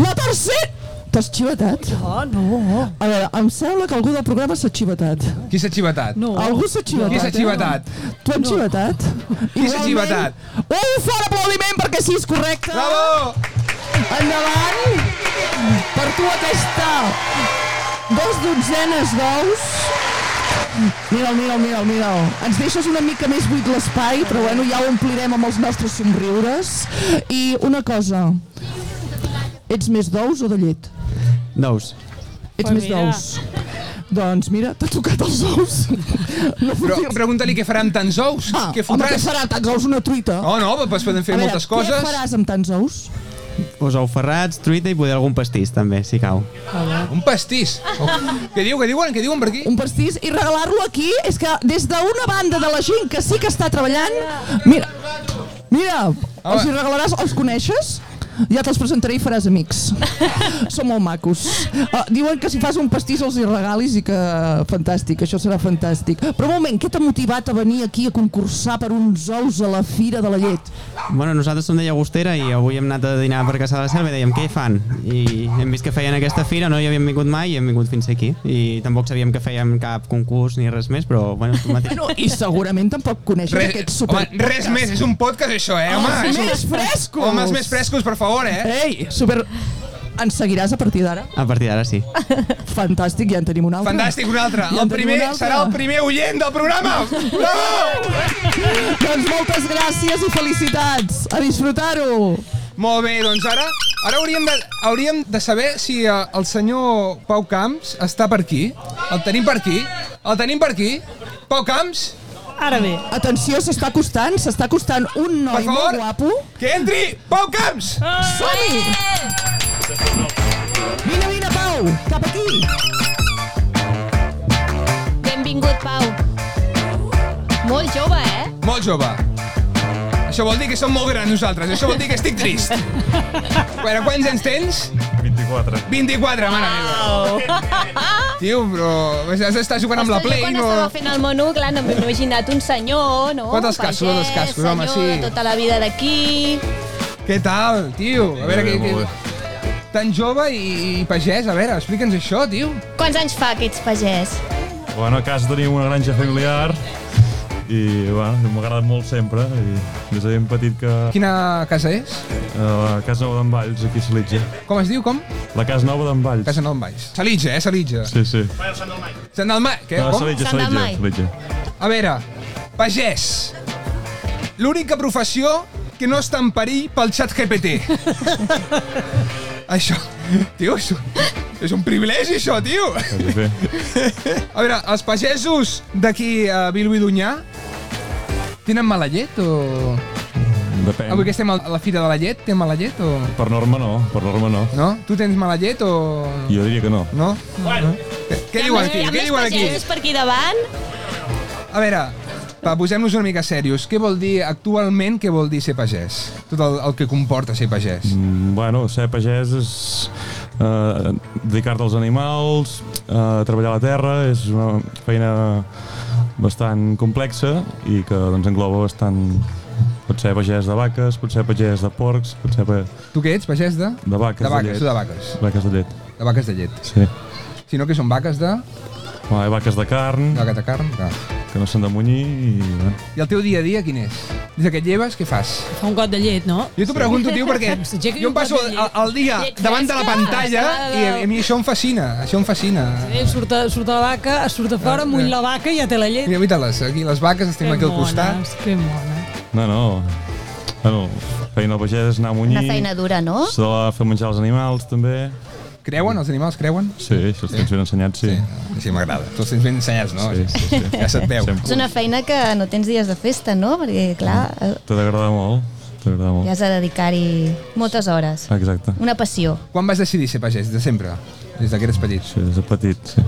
La tercera! T'has xivetat? Oh, no. A veure, em sembla que algú del programa s'ha xivetat. Qui s'ha xivetat? No. Algú s'ha xivetat. Qui s'ha xivetat? Eh? Tu hem xivetat? Qui s'ha xivetat? Un fort aplaudiment perquè sí, és correcte. Bravo! Endavant! Per tu aquesta dos dotzenes d'ous. Mira'l, mira'l, mira'l, mira'l. Ens deixes una mica més buit l'espai, però bueno, ja ho omplirem amb els nostres somriures. I una cosa, ets més d'ous o de llet? Nous. Pues Ets més mira. d'ous. Doncs mira, t'ha tocat els ous. No Però fotis. pregunta-li què farà amb tants ous. Ah, Què home, què fotràs? farà? Tants ous una truita. Oh, no, doncs podem fer A veure, moltes Què coses. faràs amb tants ous? Us ou ferrats, truita i poder algun pastís, també, si cau. Un pastís. Oh. Què diu, què diuen, què diuen per aquí? un pastís i regalar-lo aquí és que des d'una banda de la gent que sí que està treballant mira, mira els hi regalaràs, els coneixes? Ja te'ls presentaré i faràs (laughs) amics. Són molt macos. Uh, diuen que si fas un pastís els hi regalis i que fantàstic, això serà fantàstic. Però un moment, què t'ha motivat a venir aquí a concursar per uns ous a la Fira de la Llet? Bueno, nosaltres som de Llagostera i avui hem anat a dinar per Caçà de la Selva i dèiem què hi fan. I hem vist que feien aquesta fira, no hi havíem vingut mai i hem vingut fins aquí. I tampoc sabíem que fèiem cap concurs ni res més, però bueno, tu (laughs) mateix... Bueno, I segurament tampoc coneixes Res, aquest home, super... res més, és un podcast això, eh, home? Els És un- més frescos! Home, els més frescos, per favor, eh? Ei, super... Ens seguiràs a partir d'ara? A partir d'ara sí. Fantàstic, ja en tenim un altre. Fantàstic, un altre. Ja en El tenim primer un altre. serà el primer oient del programa. Bravo! Doncs moltes gràcies i felicitats. A disfrutar-ho. Molt bé, doncs ara ara hauríem de, hauríem de saber si eh, el senyor Pau Camps està per aquí. El tenim per aquí. El tenim per aquí. Pau Camps, Ara bé, Atenció, s'està costant, s'està costant un per noi favor. molt guapo. Que entri Pau Camps! Som-hi! Vine, vine, Pau, cap aquí. Benvingut, Pau. Molt jove, eh? Molt jove. Això vol dir que som molt grans nosaltres. Això vol dir que estic trist. Bueno, quants anys tens? 24. 24, mare meva. Tio, però has d'estar jugant amb la Ostres, jo Play, quan no? estava fent el menú, clar, no m'he imaginat un senyor, no? Quantes Un pagès, cascos, quantes cascos, senyor, home, sí. de tota la vida d'aquí... Què tal, tio? A veure, Molt que, bé, molt que... Tan jove i, i pagès, a veure, explica'ns això, tio. Quants anys fa que ets pagès? Bueno, a casa tenim una granja familiar i, bueno, m'ha agradat molt sempre i des de ben petit que a Quina casa és? la Casa Nova d'en Valls, aquí a Salitja. Com es diu, com? La Casa Nova d'en Valls. Casa Nom Baix. Salitja, eh, Salitja. Sí, sí. Sant Dalmà, què? No, Com? Salitja, Sant Salitja, Dalmai. Salitja. A veure, pagès. L'única professió que no està en perill pel xat GPT. això, Tio, és un, és un privilegi, això, tio. Què fer? A veure, els pagesos d'aquí a Bilbo i Dunyà tenen mala llet o... Depèn. Avui que estem (laughs) a la Fira de la Llet, tenen mala llet o... Per norma no, per norma no. No? Tu tens mala llet o... Jo diria que no. No? Bueno. Què, què diuen aquí? Què diuen aquí? Hi ha més pagesos per aquí davant. A veure, va, posem-nos una mica serios. Què vol dir actualment, què vol dir ser pagès? Tot el, el que comporta ser pagès. Mm, bueno, ser pagès és eh, dedicar-te als animals, eh, treballar la terra, és una feina bastant complexa i que doncs, engloba bastant... Pot ser pagès de vaques, pot ser pagès de porcs, pot ser pa- Tu què ets, pagès de? de vaques De de, vaques, llet. tu de vaques. Vaques de llet, De vaques de llet. sí. Si no, que són vaques de... Bueno, hi ha vaques de carn, De vaca de carn. clar. que no s'han de munyir i... Bueno. I el teu dia a dia quin és? Des que et lleves, què fas? Fa un got de llet, no? Jo t'ho pregunto, tio, (laughs) perquè S'aixeca i jo em un passo pot de el, llet. el dia Llet davant de la fresca, pantalla i a, escala. a mi això em fascina, això em fascina. Eh, surt, a, surt a la vaca, surt a Eh, fora, mull la vaca i ja té la llet. Mira, mira-les, aquí les vaques, les tenim aquí al costat. mones, que mona. No, no. Bueno, feina del pagès és anar a munyir. Una feina dura, no? S'ha de fer menjar els animals, també. Creuen, els animals creuen? Sí, això els tens ben ensenyat, sí. Sí, m'agrada. Tu els tens ben ensenyats, no? Sí, sí, sí. Ja se't veu. Sempre. És una feina que no tens dies de festa, no? Perquè, clar, eh, T'ha d'agradar molt. T'ha d'agradar molt. ja has de dedicar-hi moltes hores. Exacte. Una passió. Quan vas decidir ser pagès? De sempre? Des de que eres petit? Sí, des de petit, sí.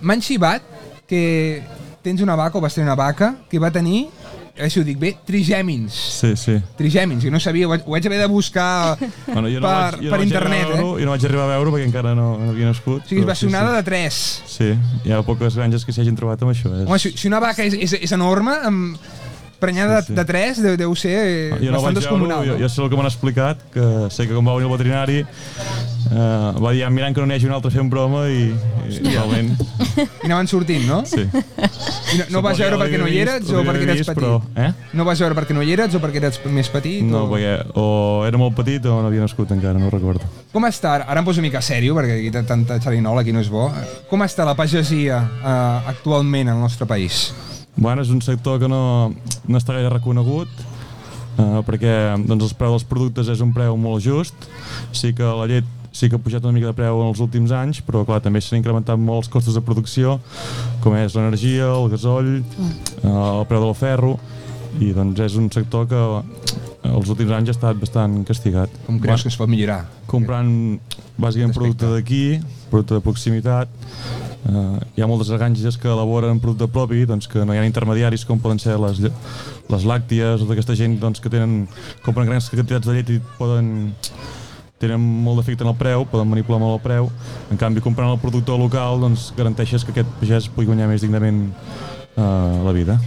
M'han xivat que tens una vaca o vas tenir una vaca que va tenir, a veure si ho dic bé, trigèmins. Sí, sí. Trigèmins, jo no sabia, ho vaig, ho vaig haver de buscar Bueno, jo no per, vaig, jo no per vaig arribar internet, a eh? veure-ho, Jo no vaig arribar a veure perquè encara no, no havia nascut. O sigui, es però va Oh, sí, sonada de tres. Sí, sí. hi ha poques granges que s'hi hagin trobat amb això. Eh? Home, si, si una vaca és, és, és enorme, amb prenyada Sí, sí. de, de tres, deu, deu ser eh, Ah, jo no bastant vaig veure-ho, descomunal. jo, jo sé el que m'han explicat, que sé que com va venir el veterinari eh, va dir, "Ah, mirant que no n'hi hagi un altre fent broma i, i realment... I anaven sortint, no? Sí. I no, no vas veure perquè no hi eres o perquè eres petit? Però, eh? No vas veure perquè no hi eres o perquè eres més petit? No, o... perquè o era molt petit o no havia nascut encara, no ho recordo. Com està, ara em poso una mica serio, perquè aquí t- tanta xerinola aquí no és bo, com està la pagesia eh, actualment al nostre país? Bueno, és un sector que no, no està gaire reconegut, eh, perquè doncs, el preu dels productes és un preu molt just. Sí que la llet sí que ha pujat una mica de preu en els últims anys, però clar, també s'han incrementat molts costos de producció, com és l'energia, el gasoll, eh, el preu del ferro, i doncs és un sector que eh, els últims anys ha estat bastant castigat. Com creus que es pot millorar? comprant bàsicament producte d'aquí, producte de proximitat. Uh, hi ha moltes granges que elaboren producte propi, doncs que no hi ha intermediaris com poden ser les, lle- les làcties o d'aquesta gent doncs, que tenen, compren grans quantitats de llet i poden tenen molt d'efecte en el preu, poden manipular molt el preu. En canvi, comprant el productor local, doncs garanteixes que aquest pagès pugui guanyar més dignament uh, la vida.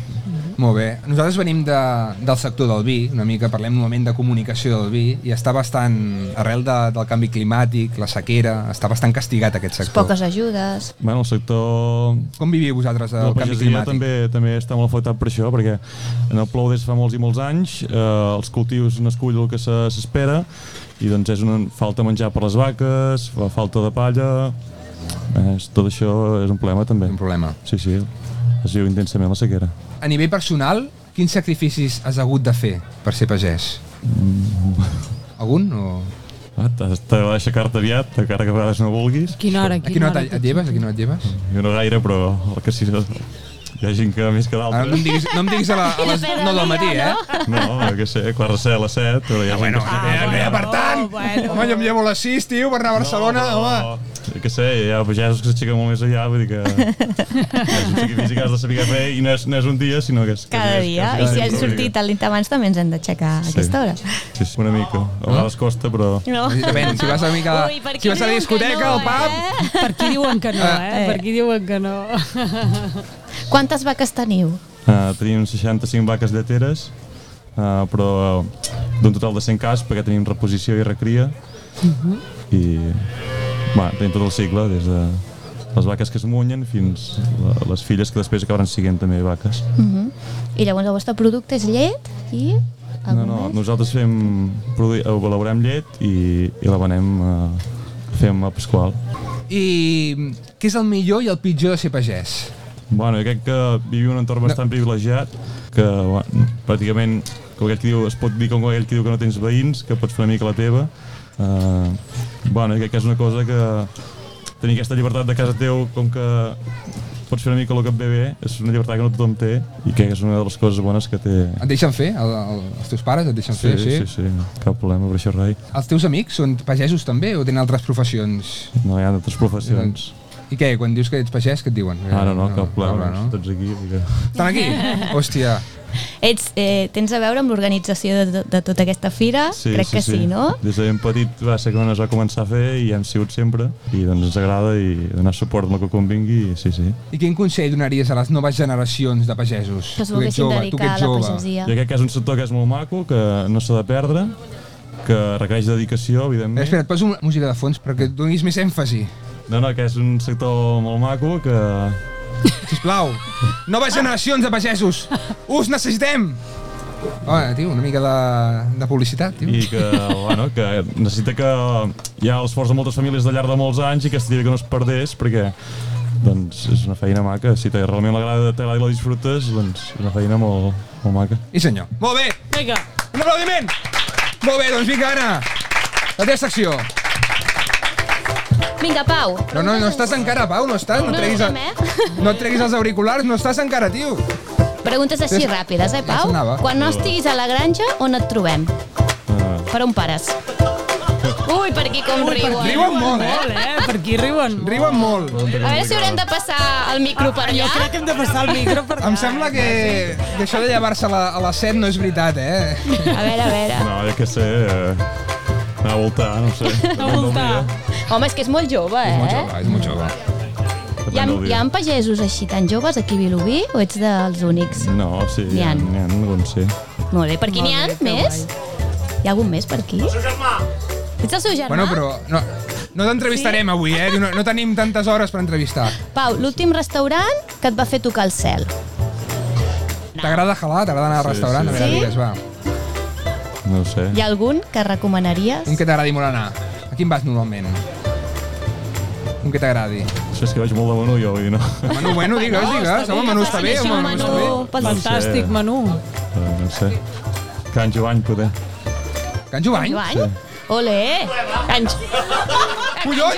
Molt bé. Nosaltres venim de, del sector del vi, una mica parlem un moment de comunicació del vi, i està bastant, arrel de, del canvi climàtic, la sequera, està bastant castigat aquest sector. Poques ajudes. Bueno, el sector Com viviu vosaltres el La canvi pagesia climàtic? també, també està molt afectat per això, perquè en el plou des fa molts i molts anys, eh, els cultius no es cull el que se- s'espera, i doncs és una falta menjar per les vaques, fa falta de palla, eh, és, tot això és un problema també. Un problema. Sí, sí, es viu intensament la sequera. A nivell personal, quins sacrificis has hagut de fer per ser pagès? Mm. Algun? O... Ah, t'ha- T'agrada aixecar-te aviat, encara que a vegades no vulguis. Quina hora, A quina quina hora hora. et, et lleves? A quina hora et lleves? Jo no gaire, però el que sí hi ha gent que més que Ara no d'altres. em diguis, no em diguis a, la, a les 9 del matí, eh? No, jo què sé, quart de set a les set, però hi ha gent que... sí que- eh, eh, per tant! Oh, bueno. Home, jo em llevo a les 6, tio, per anar a Barcelona, no, home. Jo què Oh, sé, hi ha pagesos que s'aixequen molt més allà, (laughs) vull dir que... és un sacrifici que has de saber fer i no és, no és un dia, sinó que és... Cada que és- dia. que I és- si que és han una mica. sortit a l'inter abans també ens hem d'aixecar a aquesta hora. Sí, sí, una mica. A vegades costa, però... No. Depèn, si vas a, mica, Ui, per si qui vas a la diuen que discoteca, no, al pub... eh? Per qui diuen que no, eh? Ah. eh. Per qui diuen que no. Quantes vaques teniu? Uh, tenim 65 vaques lleteres, uh, però eh, d'un total de 100 cas, perquè tenim reposició i recria. I... Bueno, tenim tot el cicle, des de les vaques que es munyen fins a les filles que després acabaran siguent també vaques. I llavors el vostre producte és llet i... No, no, nosaltres fem, produ- eh, elaborem llet i, i la venem a, fem a Pasqual. I què és el millor i el pitjor de ser pagès? Bueno, jo crec que vivim en un entorn bastant privilegiat, que bueno, pràcticament, com aquell que diu, es pot dir com aquell que diu que no tens veïns, que pots fer una mica la teva. Uh, Bueno, jo crec que és una cosa que tenir aquesta llibertat de casa teu, com que pots fer una mica el que et ve bé, és una llibertat que no tothom té i crec que és una de les coses bones que té. Et deixen fer? El, el, els teus pares et deixen Sí, fer? sí, sí, cap problema per això rai. Els teus amics són pagesos també o tenen altres professions? No hi ha d'altres professions. I què, quan dius que ets pagès, què et diuen? Ara no, cap Eh, ara problema, Ah, no. tots aquí. Mira. Estan aquí? (laughs) Hòstia. Ets, eh, tens a veure amb l'organització de, de tota aquesta fira? Crec que sí, no? Des de ben petit va ser quan es va començar a fer i hem sigut sempre i doncs ens agrada i donar suport amb el que convingui, i sí, sí. I quin consell donaries a les noves generacions de pagesos? Que s'ho Tu que ets haguessin jove, tu que dedicat ets a la jove. pagesia. Jo crec que és un sector que és molt maco, que no s'ha de perdre, que requereix dedicació, Eh, evidentment. Espera, et poso una música de fons perquè et donis més èmfasi. No, no, que és un sector molt maco que... Sisplau. Noves generacions de pagesos. Us necessitem. Home, tio, una mica de, de publicitat, tio. i que, bueno, que necessita que hi ha l'esforç de moltes famílies de llarg de molts anys i que estaria bé que no es perdés perquè doncs és una feina maca, si te, realment l'agrada, t'agrada i la disfrutes, doncs és una feina molt, molt maca. I senyor. Molt bé. Vinga. Un aplaudiment! Molt bé, doncs vinga, Anna. La teva secció. Vinga, Pau. No, no, no estàs encara, Pau, no estàs. No, No treguis, estem, eh? el, no et treguis els auriculars, no estàs encara, tio. Preguntes així Sí, sí. ràpides, eh, Ja Pau? sonava. Quan no estiguis a la granja, on et trobem? Uh, Per on pares? Ui, per aquí com riuen. Riuen molt, eh? Molt, eh? Per aquí riuen. Riuen molt. A veure si haurem de passar el micro per allà. Jo crec que hem de passar el micro per Em sembla que, que això de llevar-se a, la- a les 7 no és veritat, eh? A veure, a veure. no, jo què sé, eh, anar a voltar, no (laughs) sé. a voltar. Home, és que és molt jove, eh? Molt jove, és molt jove. Hi ha, hi ha pagesos així tan joves aquí a Vilobí o ets dels únics? No, sí, N'hi n'hi ha. ha, n'hi ha, doncs sí. Molt bé, per aquí n'hi ha Molt bé, que més? Hi ha algun més per aquí? El seu germà! Ets el seu germà? Bueno, però no, no t'entrevistarem avui, eh? No, no tenim tantes hores per entrevistar. Pau, l'últim restaurant que et va fer tocar el cel. T'agrada jalar? T'agrada anar al Sí, sí. restaurant? A veure, Sí? digues, va. No ho sé. Hi ha algun que recomanaries? Un que t'agradi molt anar. A quin vas normalment? Un que t'agradi. Això és que vaig molt de menú jo, vull dir, no. (laughs) Menú bueno, digues, digues. Home, menú està bé, facis home, un menú està bé. menú pel- Fantàstic menú. Eh, no sé. Can Jovany, poder. Can Jovany? Joan? Olé! En... Joan? Collons!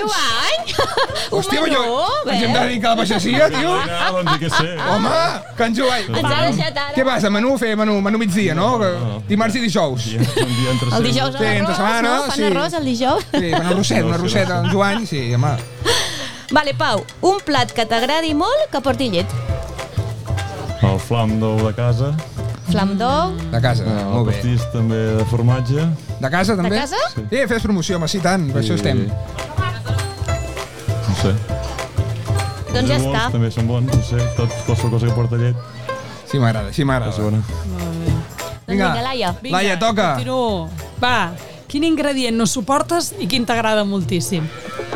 Un Hòstia, menú, jo, ens hem de veus? dedicar a la pagesia, tio. Ah, doncs jo què (laughs) sé. Home, Can Jovany. Ens ha deixat ara. Què vas, a menú? Fer menú, menú migdia, no? Dimarts i dijous. Un dia- un dia El entre setmana. dijous a Sí, entre l'arròs, setmana, no? Fan sí. arròs el (laughs) dijous. Sí, una roseta, una No, sí, roseta, en Joan, sí, home. Vale, Pau, un plat que t'agradi molt que porti llet. El flam d'ou de casa, Flam d'ou, De casa, el Ah, molt bé. pastís també de formatge. De casa, també? casa? Sí, Eh, fes promoció, home, sí, tant, per això estem. No sé. doncs ja Els bons està. També són bons, no sé, tot, qualsevol cosa que porta llet Sí, m'agrada, sí, és m'agrada. bona. Doncs vinga, Laia. Vinga, Laia, toca. Continuo. Va, quin ingredient no suportes i quin t'agrada moltíssim?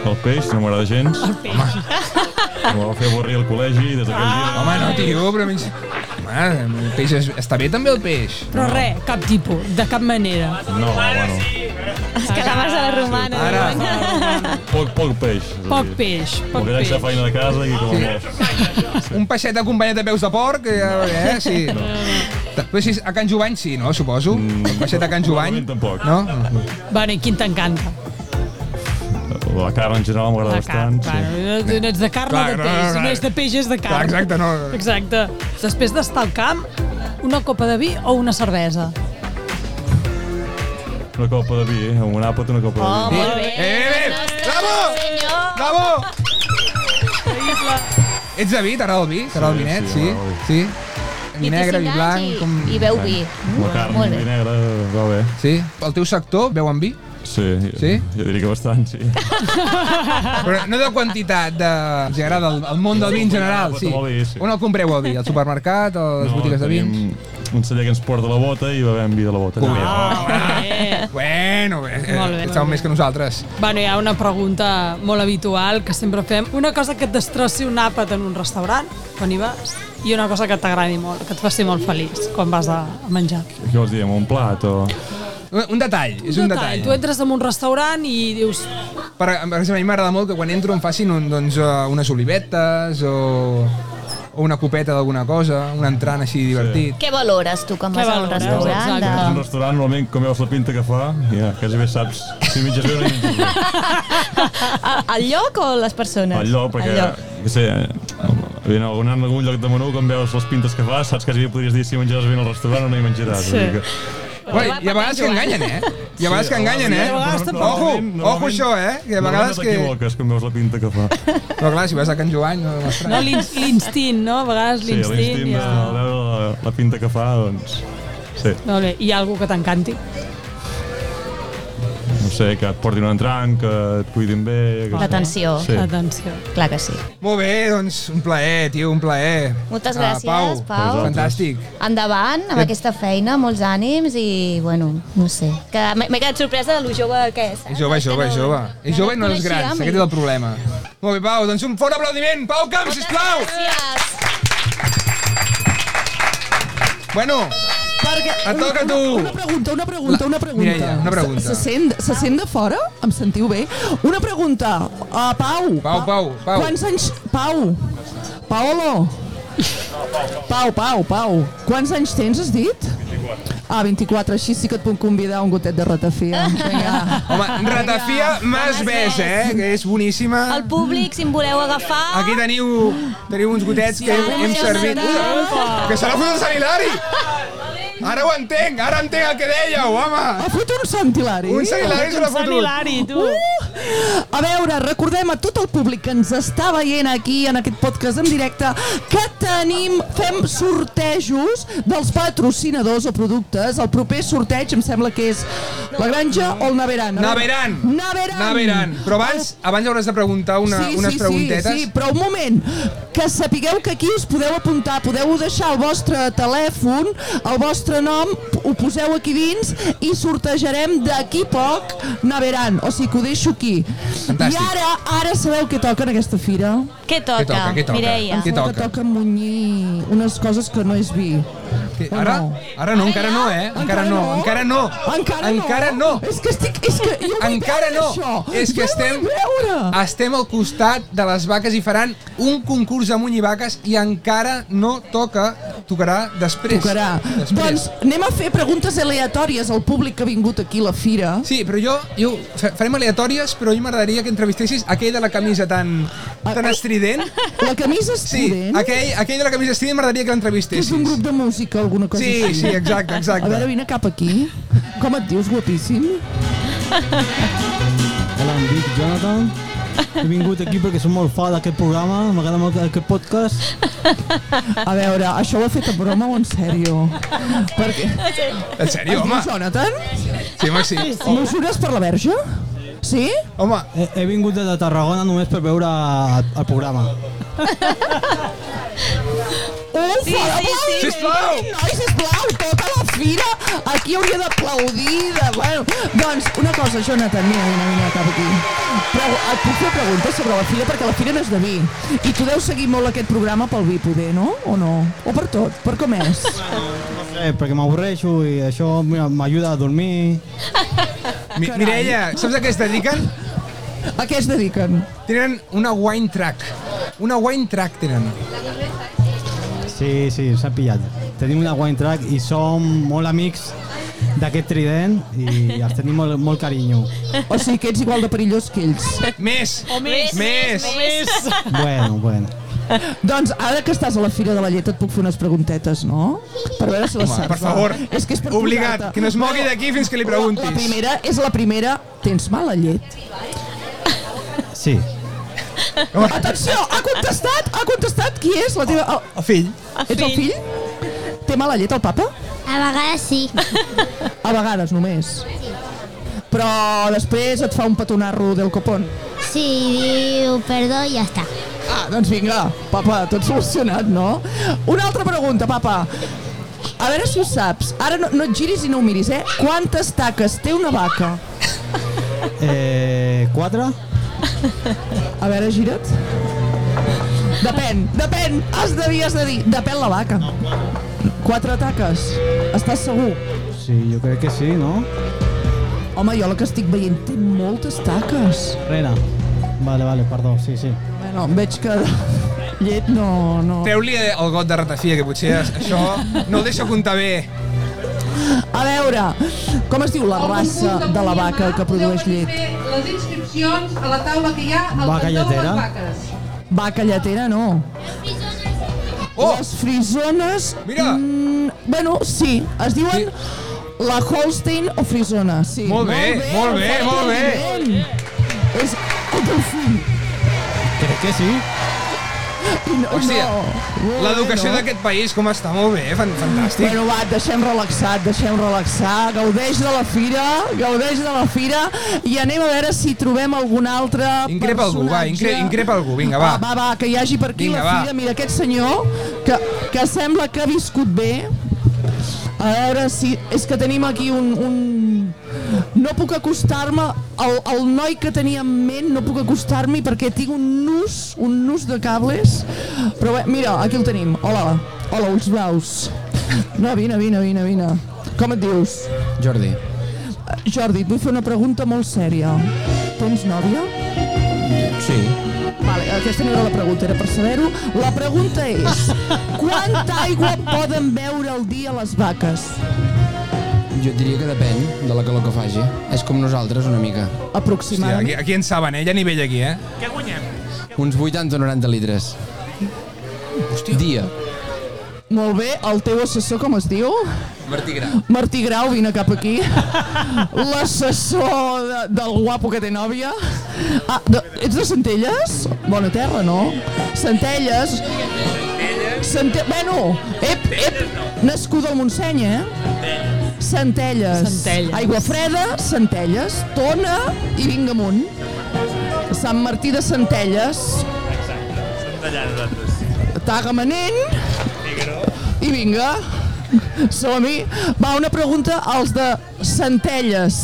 El peix no m'agrada gens. El peix. Home, em va fer avorrir al col·legi i des d'aquell dia... Home, no, tio, però menys... Home, el peix és... està bé també el peix. Però res, cap tipus, de cap manera. No, bueno, Els calamars a la romana. Ara, poc, poc peix. és a Poc dir, peix, poc Poc peix. peix. Poc feina de casa i com a molt. un peixet acompanyat de peus de porc, eh, eh sí. Però sí, a Can Jovany sí, no, suposo? El peixet a Can Jovany. Probablement tampoc. No? Bueno, i quin t'encanta? La carn en general m'agrada La carn. bastant. Sí. Bueno, no- no ets de carn, Clar, no de no, peix. no, No ets de peix, és de Clar, carn. exacte, no. Exacte. Després d'estar al camp, una copa de vi o una cervesa? Una copa de vi, eh? amb un àpat una copa de vi. Molt bé. Eh, eh, eh, bravo! Senyor. Bravo! Ets de vi? T'agrada el vi? T'agrada el Sí, vinet? sí, Sí, m'agrada el sí. Vi negre, 25 vi anys blanc, i, com... I beu vi. La carn, Oh. Molt vi bé. negre, va bé. Sí? El teu sector veuen vi? Sí, Sí? jo, jo diria que bastant, sí. Però no de quantitat, de... Els agrada el, el món del vi en general, sí. Molt bé, sí. On el compreu el vi? Al supermercat, a les botigues de tenim vins? Un celler que ens porta la bota i bevem vi de la bota. Ah. Eh. Bueno, eh, Molt bé, esteu molt més que nosaltres. Bueno, hi ha una pregunta molt habitual que sempre fem. Una cosa que et destrossi un àpat en un restaurant, quan hi vas, i una cosa que t'agradi molt, que et faci molt feliç quan vas a a menjar. Què vols dir, amb un plat o...? Un, un detall, és un eh? detall. Tu entres en un restaurant i dius... Per, per exemple, a mi m'agrada molt que quan entro em facin un, doncs, eh, unes olivetes o... o una copeta d'alguna cosa, un entrant així divertit. Què valores tu quan Què vas a un valores? restaurant? Exacte. És un De... restaurant, normalment, com veus la pinta que fa, ja, quasi bé saps si menges bé o no menges bé. A- El lloc o les persones? El lloc, perquè, El lloc. què sé, eh, en algun, en algun lloc de menú, com veus les pintes que fa, saps quasi bé podries dir si menjaràs bé al restaurant o no hi menjaràs. Sí. vull dir Uai, I a vegades que enganyen, eh? I a vegades que enganyen, eh? a vegades tampoc. Ojo, ojo això, eh? Que a vegades Normalment que... t'equivoques quan veus la pinta que fa. Però clar, si vas a Can Joan... No, No, no, l'ins- (laughs) l'instint, no? A vegades Sí, l'instint... l'instint de ja. veure la, la pinta que fa, doncs... Sí, Molt bé, hi ha algú que t'encanti? no sé, que et portin un entrant, que et cuidin bé... Que... L'atenció, Sí. Atenció. clar que sí. Molt bé, doncs, un plaer, tio, un plaer. Moltes Ah, gràcies, Pau. Fantàstic. Endavant amb aquesta feina, molts ànims i, bueno, no sé. Que m'he m'he quedat sorpresa de lo jove que és. eh? És jove, és jove, és jove. És jove i no és gran, aquest és el problema. Molt bé, Pau, doncs un fort aplaudiment. Pau Camps, sisplau! Gràcies. Bueno, Perquè... et toca a tu. Una pregunta, una pregunta, una pregunta. Mireia, una pregunta. Se, se, sent, se sent de fora? Em sentiu bé? Una pregunta. Uh, Pau. Pau, Pau, Pau. Quants anys... Pau. Paolo. Pau, Pau, Pau. Quants anys tens, has dit? 24. Ah, 24, així sí que et puc convidar a un gotet de ratafia. Vinga. Home, Ratafia Mas Bes, eh? Que és boníssima. El públic, si em voleu agafar... Aquí teniu, teniu uns gotets que hem, hem servit. Ui, que se l'ha fotut el Sant Hilari! Ara ho entenc, ara entenc el que dèieu, home! Ha fet un Sant Hilari. Un Sant Hilari se l'ha Sant fotut. Hilari, tu. A veure, recordem a tot el públic que ens està veient aquí en aquest podcast en directe que tenim, fem sortejos dels patrocinadors o productes. El proper sorteig em sembla que és la granja o el Naveran. A veure. Naveran! Naveran! Naveran! Però abans, abans hauràs de preguntar una, unes preguntetes. Sí, sí, però un moment, que sapigueu que aquí us podeu apuntar, podeu deixar el vostre telèfon, el vostre nom, ho poseu aquí dins i sortejarem d'aquí poc Naveran, o sigui que ho deixo aquí. Fantàstic. I ara, ara sabeu què toca en aquesta fira? Què toca, Què toca, què toca? Mireia? Què Sembla toca? Que toca munyir unes coses que no és vi. Que- O Ara, no? ara no, encara no, eh? Encara no, encara no. Encara, Encara no. És que estic... És que jo ho vull Encara veure, no. Això. És que jo ho vull estem veure. estem al costat de les vaques i faran un concurs de muny i vaques i encara no toca, tocarà després. Tocarà. Doncs Després. anem a fer preguntes aleatòries al públic que ha vingut aquí a la fira. Sí, però jo, jo fa- farem aleatòries, però a mi m'agradaria que entrevistessis aquell de la camisa tan, tan (laughs) estrident. La camisa Sí, estudent, aquell, aquell de la camisa estrident m'agradaria que que és un l'entrevistessis. grup de música, alguna cosa Sí, així. sí, exacte, A veure, exacte. vine cap aquí. Com et dius, guapíssim? Hola, em dic Jonathan. He vingut aquí perquè som molt fan d'aquest programa, m'agrada molt aquest podcast. A veure, això ho ha fet a broma o en sèrio? Perquè... En sèrio, es home. diu Jonathan? Sí, home, sí. Mesures per la verge? Sí? Home, He, he vingut des Eh, de Tarragona només per veure el, el programa. Un sí, fora sí, sí. sisplau! Noi, sisplau, tota la fira aquí hauria d'aplaudir. De... Bueno, doncs, una cosa, Jonathan, mira, mira, mira, cap aquí. Pregu et puc fer preguntes sobre la fira, perquè la fira no és de vi. I tu deus seguir molt aquest programa pel vi, poder, no? O no? O per tot? Per com és? No sé, perquè m'avorreixo i això mira, m'ajuda a dormir. Mi Mireia, saps a què es dediquen? A què es dediquen? Tenen una wine track. Una wine track tenen. Sí, sí, s'ha pillat. Tenim una wine track i som molt amics d'aquest trident i els tenim molt, molt carinyo. O sigui que ets igual de perillós que ells. Més! O més, Més! Bueno, bueno. Doncs ara que estàs a la Fira de la Llet et puc fer unes preguntetes, no? Per veure si les Home, saps. per va. favor, És que és per obligat, posar-te. que no es mogui d'aquí fins que li preguntis. La, la primera és la primera. Tens mala llet? Sí. Oh, Atenció, ha contestat, ha contestat qui és la teva... El, El fill. ets el fill? Té mala llet el papa? A vegades sí. A vegades només. Però després et fa un petonarro del copón. Sí, diu perdó i ja està. Ah, doncs vinga, papa, tot solucionat, no? Una altra pregunta, papa. A veure si ho saps. Ara no, no et giris i no ho miris, eh? Quantes taques té una vaca? Eh, quatre? A veure, gira't. Depèn, depèn. Has de dir, has de dir. Depèn la vaca. Quatre taques. Estàs segur? Sí, jo crec que sí, no? Home, jo la que estic veient té moltes taques. Rena. Vale, vale, perdó, sí, sí. Bueno, veig que... Llet no... no. Treu-li eh, el got de ratafia, que potser es- això no el deixa comptar bé. A veure, com es diu la raça de la vaca que produeix llet? Les inscripcions a la taula que hi ha al cantó Vaca de lletera? les vaques. Vaca lletera, no. Oh! Les frisones... Mira! Mm, bueno, sí, es diuen... La Holstein o Frisona, sí. Molt bé, molt bé, molt bé. bé. És el teu fill. Crec que sí. No, Hòstia, no. l'educació Bueno. d'aquest país com està? Molt bé, fan- fantàstic. Bueno, va, et deixem relaxat, et deixem relaxar, gaudeix de la fira, gaudeix de la fira i anem a veure si trobem algun altre Increpa algú, va, incre- increpa algú, vinga, va. va. Va, va, que hi hagi per Ah. aquí Vinga, la va. fira. Mira, aquest senyor que, que sembla que ha viscut bé. A veure si... És que tenim aquí un... un... No puc acostar-me al, al noi que tenia en ment, no puc acostar-m'hi perquè tinc un nus, un nus de cables. Però bé, mira, aquí el tenim. Hola, hola, ulls blaus. No, vine, vine, vine, vine. Com et dius? Jordi, Eh, Jordi, et vull fer una pregunta molt sèria. Tens nòvia? sí. Vale, aquesta no era la pregunta, era per saber-ho. La pregunta és, quanta aigua poden beure al dia les vaques? Jo et diria que depèn de la calor que faci. És com nosaltres, una mica. Hòstia, Aproximadament. aquí, aquí en saben, eh? Hi ha nivell aquí, eh? Uns 80 o 90 litres. Hòstia. Dia. Molt bé, el teu assessor com es diu? Martí Grau. Martí Grau, vine cap aquí. L'assessor de, del guapo que té nòvia. Ah, de, ets de Centelles? Bona terra, no? Centelles. Cente... Bueno, ep, ep, nascuda al Montseny, eh? Centelles. Centelles. Aigua freda, Centelles. Tona i vinga amunt. Sant Martí de Centelles. Tagamanent. I vinga. Som-hi. Va, una pregunta als de Centelles.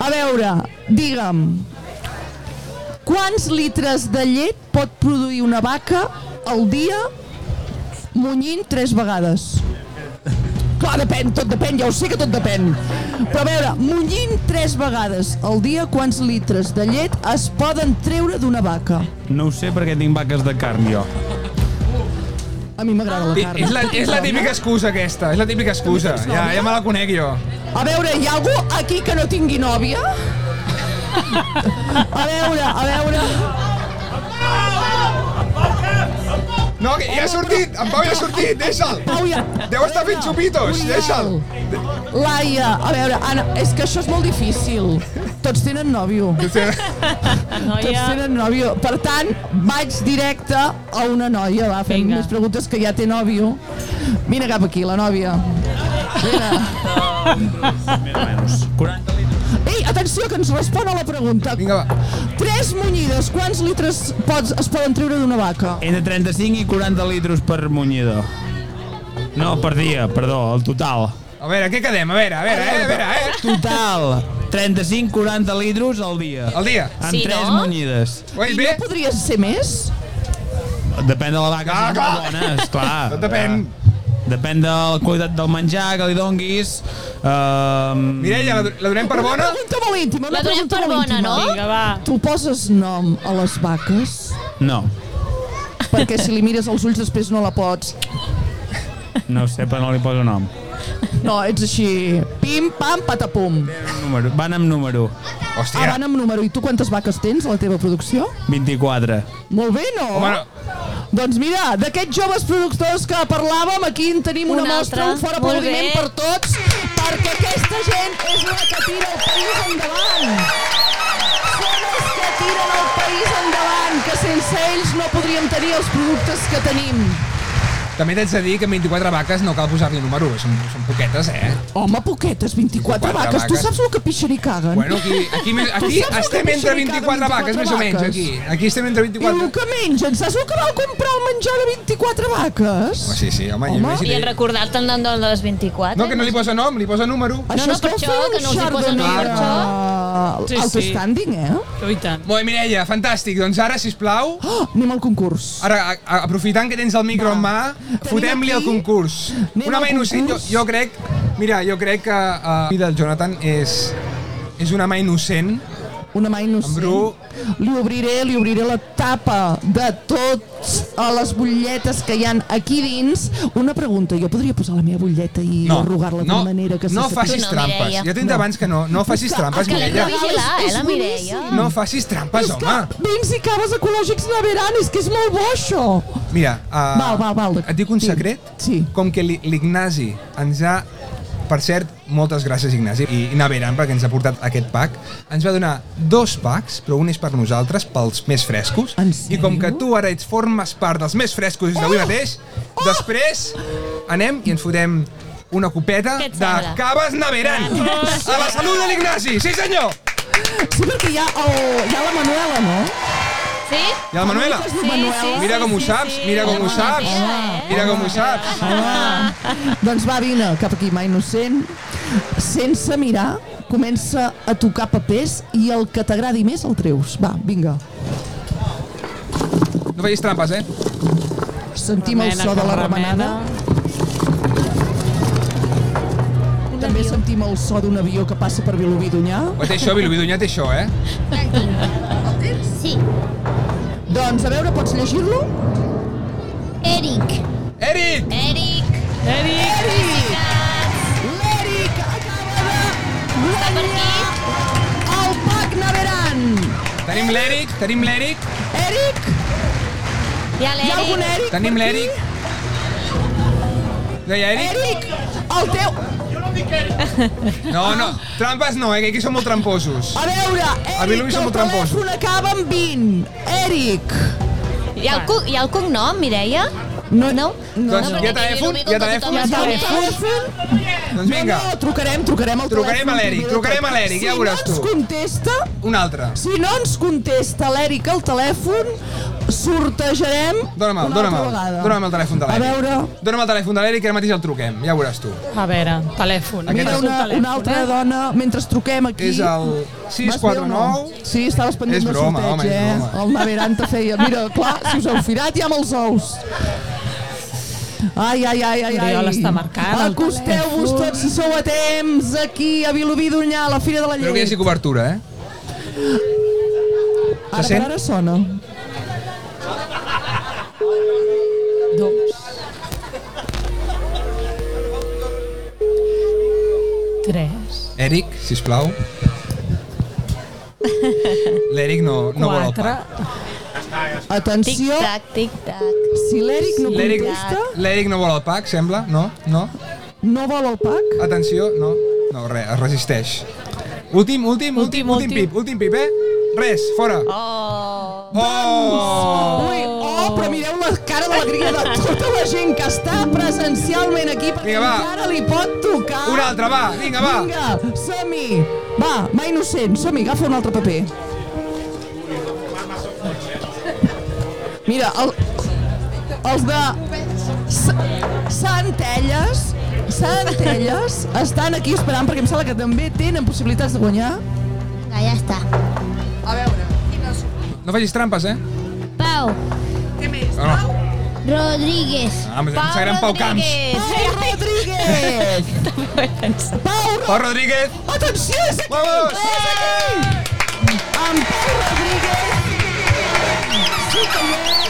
A veure, digue'm, quants litres de llet pot produir una vaca al dia munyint tres vegades? Clar, depèn, tot depèn, ja ho sé que tot depèn. Però a veure, munyint tres vegades al dia, quants litres de llet es poden treure d'una vaca? No ho sé perquè tinc vaques de carn, jo. A mi m'agrada la I- carn. És la, és la típica excusa, aquesta. És la típica excusa. Ja, ja me la conec, jo. A veure, hi ha algú aquí que no tingui nòvia? A veure, a veure... No, que ja ha sortit! En Pau ja ha sortit! Deixa'l! Pau, ja... Deu estar fent xupitos! Oriol. Deixa'l! Laia, a veure, Anna, és que això és molt difícil. Tots tenen nòvio. Tots Noia, tenen nòvio. Per tant, vaig directe a una noia, va, fent Vinga. més preguntes que ja té nòvio. Vine cap aquí, la nòvia. Vine. 40 litres. Ei, atenció, que ens respon a la pregunta. Vinga, va. Tres munyides, quants litres pots, es poden treure d'una vaca? Entre 35 i 40 litres per munyidor. No, per dia, perdó, el total. A veure, què quedem? A veure, a veure, eh? A veure, eh? Total, 35-40 litres al dia. El dia. Amb Sí, 3 no? munyides. Ho he I dit no bé? podries ser més? Depèn de la vaca, si Clar, no Ah, clar. és bona, (laughs) esclar. Tot depèn. Depèn de la qualitat del menjar que li donguis. Um, Mireia, la, la donem per Una bona? pregunta molt íntima, una La donem pregunta per molt bona, íntima. no? vinga, va. Tu poses nom a les vaques? No, Perquè si li mires als ulls després no la pots no ho sé, però no li poso nom. No, ets així... Pim, pam, patapum. Número, van amb número. Ah, Hòstia. van amb número. I tu quantes vaques tens a la teva producció? 24. Molt bé, no? Home, no. Doncs mira, d'aquests joves productors que parlàvem, aquí en tenim una, Un mostra, altre. un fort Molt aplaudiment bé. per tots, perquè aquesta gent és la que tira el país endavant. Són els que tiren el país endavant, que sense ells no podríem tenir els productes que tenim. També t'haig de dir que amb 24 vaques no cal posar-li número, són, són poquetes, eh? Home, poquetes, 24, 24 vaques. Tu vaques. saps el que pixen i caguen? Bueno, aquí, aquí, més- aquí Tu saps el estem que entre pixen i 24 caguen vaques, més o menys, vaques? aquí. Aquí estem entre I el 24... que mengen, saps el que va comprar el menjar de 24 vaques? Home, sí, sí, home, Home. I en imagina't. recordar-te'n d'en de les 24. No, que no li posa nom, li posa número. Això no, és per com això, fer un que no els hi posen nom, per Chardonnay, eh, Sí, sí. Autostanding, eh? Oh, i tant. Molt bé, Mireia, fantàstic. Doncs ara, si plau, Oh, anem al concurs. ara, a, a, aprofitant que tens el micro en mà, fotem-li el aquí- concurs. anem Una al mà innocent, jo, concurs. jo crec... eh, Mira, jo crec que uh, la vida del Jonathan és, és una mà innocent una mà innocent. Li obriré, li obriré la tapa de tots a les butlletes que hi han aquí dins. Una pregunta, jo podria posar la meva butlleta i No, arrugar-la no, d'una manera que no se facis Tu no, trampes. Mireia. Jo t'he dit abans que no- no facis És que- trampes, és que l'hem de Mireia. És- vigilar, eh, la és Mireia. boníssim. No facis trampes, és home. que vins i caves ecològics neveran, és que és molt bo, això. Mira, uh, Val, val, val. et dic un secret? Sí. Com que l'I- l'Ignasi ens ha... Per cert, moltes gràcies, Ignasi, i, i Naveran, perquè ens ha portat aquest pack. Ens va donar dos packs, però un és per nosaltres, pels més frescos. I com que tu ara ets formes part dels més frescos d'avui Oh! mateix, després anem i ens fotem una copeta Què et de sembla? caves Naveran. Gràcies. A la salut de l'Ignasi, sí senyor! Sí, perquè hi ha, el, hi ha la Manuela, no? Sí? I el Manuela? Sí, sí, Mira sí, com ho sí, saps, sí. mira com ho Home, saps. mira, Mira com ho saps. doncs va, vine, cap aquí, mà innocent. Sense mirar, comença a tocar papers i el que t'agradi més el treus. Va, vinga. No facis trampes, eh? Sentim el Remena so de com la remena. remenada. També sentim el so d'un avió que passa per Vilobí d'Unyà. Ho té això, Vilobí Dunyà té això, eh? Sí. Doncs a veure, pots llegir-lo? Eric. Eric! Eric! Eric! Eric! L'Eric acaba de guanyar el Pac Naveran! Tenim l'Eric, tenim l'Eric, Eric! Hi ha Hi ha algun l'Eric. Eric? tenim l'Eric. Deia Eric? Eric, el teu... No, no, trampes no, eh, que aquí som molt tramposos. A veure, A mi només Eric, som el molt tramposos. telèfon acaba amb 20. Eric! Hi ha el, cu- hi ha el cognom, Mireia? No, no. Doncs hi perquè ha telèfon? Vilobí, Hi ha com que tothom telèfon? Hi ha es coneix. Doncs vinga. No, no, trucarem, trucarem al Trucarem telèfon. a l'Eric, primer de trucarem tot. a l'Eric, ja ho veuràs Si no tu. ens contesta... Un altre. Si no ens contesta l'Eric al telèfon, sortejarem Dóna'm el, una dóna'm altra el, vegada. dóna'm el telèfon de l'Eric. A veure. Dóna'm el telèfon de l'Eric i ara mateix el truquem, ja ho veuràs tu. A veure, telèfon. Aquest Mira, és un una, telèfon, una altra eh? dona, mentre truquem aquí... És el Vas bé o no? 649. Sí, estaves pendent És del broma, sorteig, home, és eh? broma. El Naveranta feia... Mira, clar, si us heu firat ja amb els ous. Ai, ai, ai, ai, ai. Oriol està marcant el telèfon. Acosteu-vos tots si sou a temps aquí a Vilobí d'Unyà, a la Fira de la Espero que hi Llei. hagi cobertura, eh? Ara per sent? ara sona. Dos. Tres. Eric, (laughs) sisplau. L'Eric no, no vol el pa. Atenció. Tic-tac, tic-tac. Si l'Eric no L'Eric contesta, l'Eric no vol el pack, sembla? No? No? no vol el pack? Atenció, no. No, res, es resisteix. Últim, últim, últim, últim pip, últim pip, eh? Res, fora. Oh! Oh! Ui, oh, però mireu la cara d'alegria de tota la gent que està presencialment aquí perquè Vinga, va. encara li pot tocar. Un altre, va, vinga, va. Vinga, som-hi. Va, mà innocent, som-hi, agafa un altre paper. Mira, el, els de S- Centelles, Centelles estan aquí esperant perquè em sembla que també tenen possibilitats de guanyar. Vinga, ja està. A veure. No facis trampes, eh? Pau. Què més? No, no. Rodríguez. Ah, em sap gran Pau Camps. Pau Eh. Rodríguez! Pau, Pau Rodríguez! Atenció, és aquí! Vamos! És aquí! Amb Pau Rodríguez! Sí que hi és!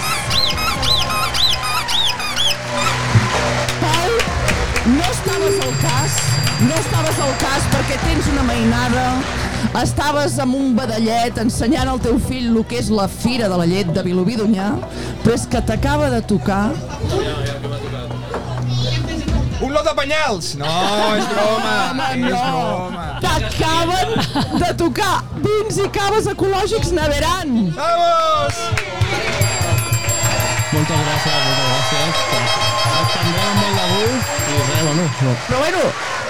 Pau, no estaves al cas, no estaves al cas perquè tens una mainada, estaves amb un badallet ensenyant al teu fill el que és la fira de la llet de Vilobí d'Unyà, però és que t'acaba de tocar Un lot de penyals! No, és broma, és broma. T'acaben de tocar vins i caves ecològics neveran. Vamos! Moltes gràcies, moltes gràcies. Doncs Ens prendrem molt de gust i res, bueno, no. Però bueno,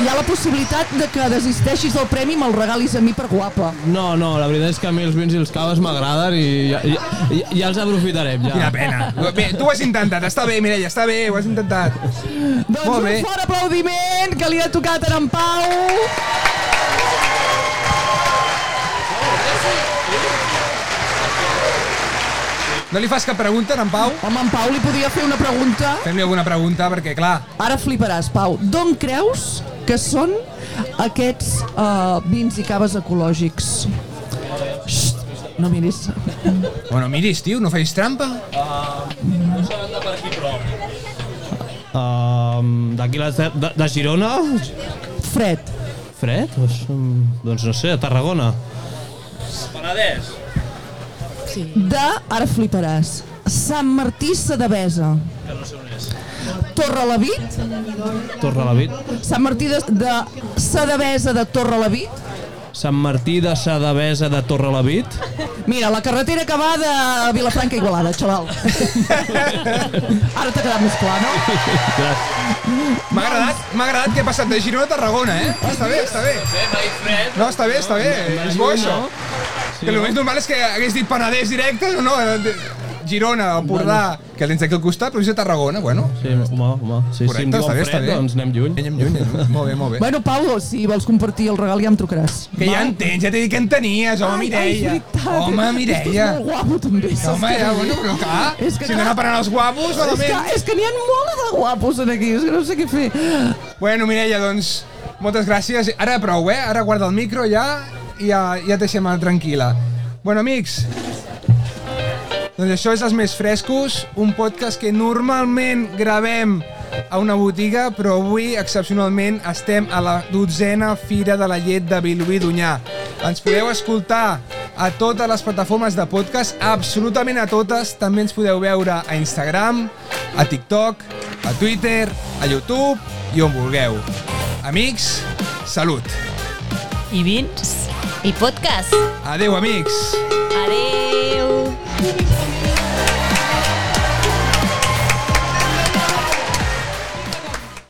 hi ha la possibilitat de que desisteixis del premi i me'l regalis a mi per guapa. No, no, la veritat és que a mi els vins i els caves m'agraden i ja, ja, ja, ja els aprofitarem, ja. Quina pena. Bé, tu ho has intentat, està bé, Mireia, està bé, ho has intentat. Doncs Molt un bé. fort aplaudiment que li ha tocat a en Pau. No li fas cap pregunta, en Pau? Home, en Pau li podia fer una pregunta. Fem-li alguna pregunta, perquè, clar, Ara fliparàs, Pau. D'on creus eh, que són aquests uh, vins i caves ecològics? No miris. Bueno, miris, tio, no facis trampa. No seran de per aquí, però... Um, D'aquí les de, de, de Girona? Fred. Fred? Doncs, mm, doncs no sé, a Tarragona. Penedès. Sí. De, ara fliparàs, Sant Martí Sadavesa. Que no sé on és. Torrelavit. Torrelavit. Sant Martí de, de Sadavesa de Torrelavit. Sant Martí de Sadavesa de Torrelavit. Mira, la carretera que va de Vilafranca a Igualada, xaval. Ara t'ha quedat més clar, no? M'ha agradat, m'ha agradat que he passat de Girona a Tarragona, eh? Està bé, està bé. No, està bé, està bé. És bo, això. Que el més normal és que hagués dit Penedès directe, no, no. Girona, Empordà, que tens aquí al costat, però és a Tarragona, bueno. Sí, home, home. Sí, Correcte, sí, em diuen està bé, Fred, està bé. Doncs anem lluny. Anem lluny, anem. Molt bé, molt bé. Bueno, Pau, si vols compartir el regal ja em trucaràs. Que ja en tens, ja t'he dit que en tenies, home, Mireia. home, Mireia. Estàs molt guapo, també. saps Home, què ja, vull bueno, dir? però clar, És si no n'aparant els guapos, És que, malament. és que n'hi ha molt de guapos en aquí, és que no sé què fer. Bueno, Mireia, doncs, moltes gràcies. Ara prou, eh? Ara guarda el micro ja i ja, ja et deixem tranquil·la. Bueno, amics, doncs això és Els Més Frescos, un podcast que normalment gravem a una botiga, però avui, excepcionalment, estem a la dotzena Fira de la Llet de Vilobí d'Unyà. Ens podeu escoltar a totes les plataformes de podcast, absolutament a totes. També ens podeu veure a Instagram, a TikTok, a Twitter, a YouTube i on vulgueu. Amics, salut. I vins. I podcast. Adeu, amics. Adeu.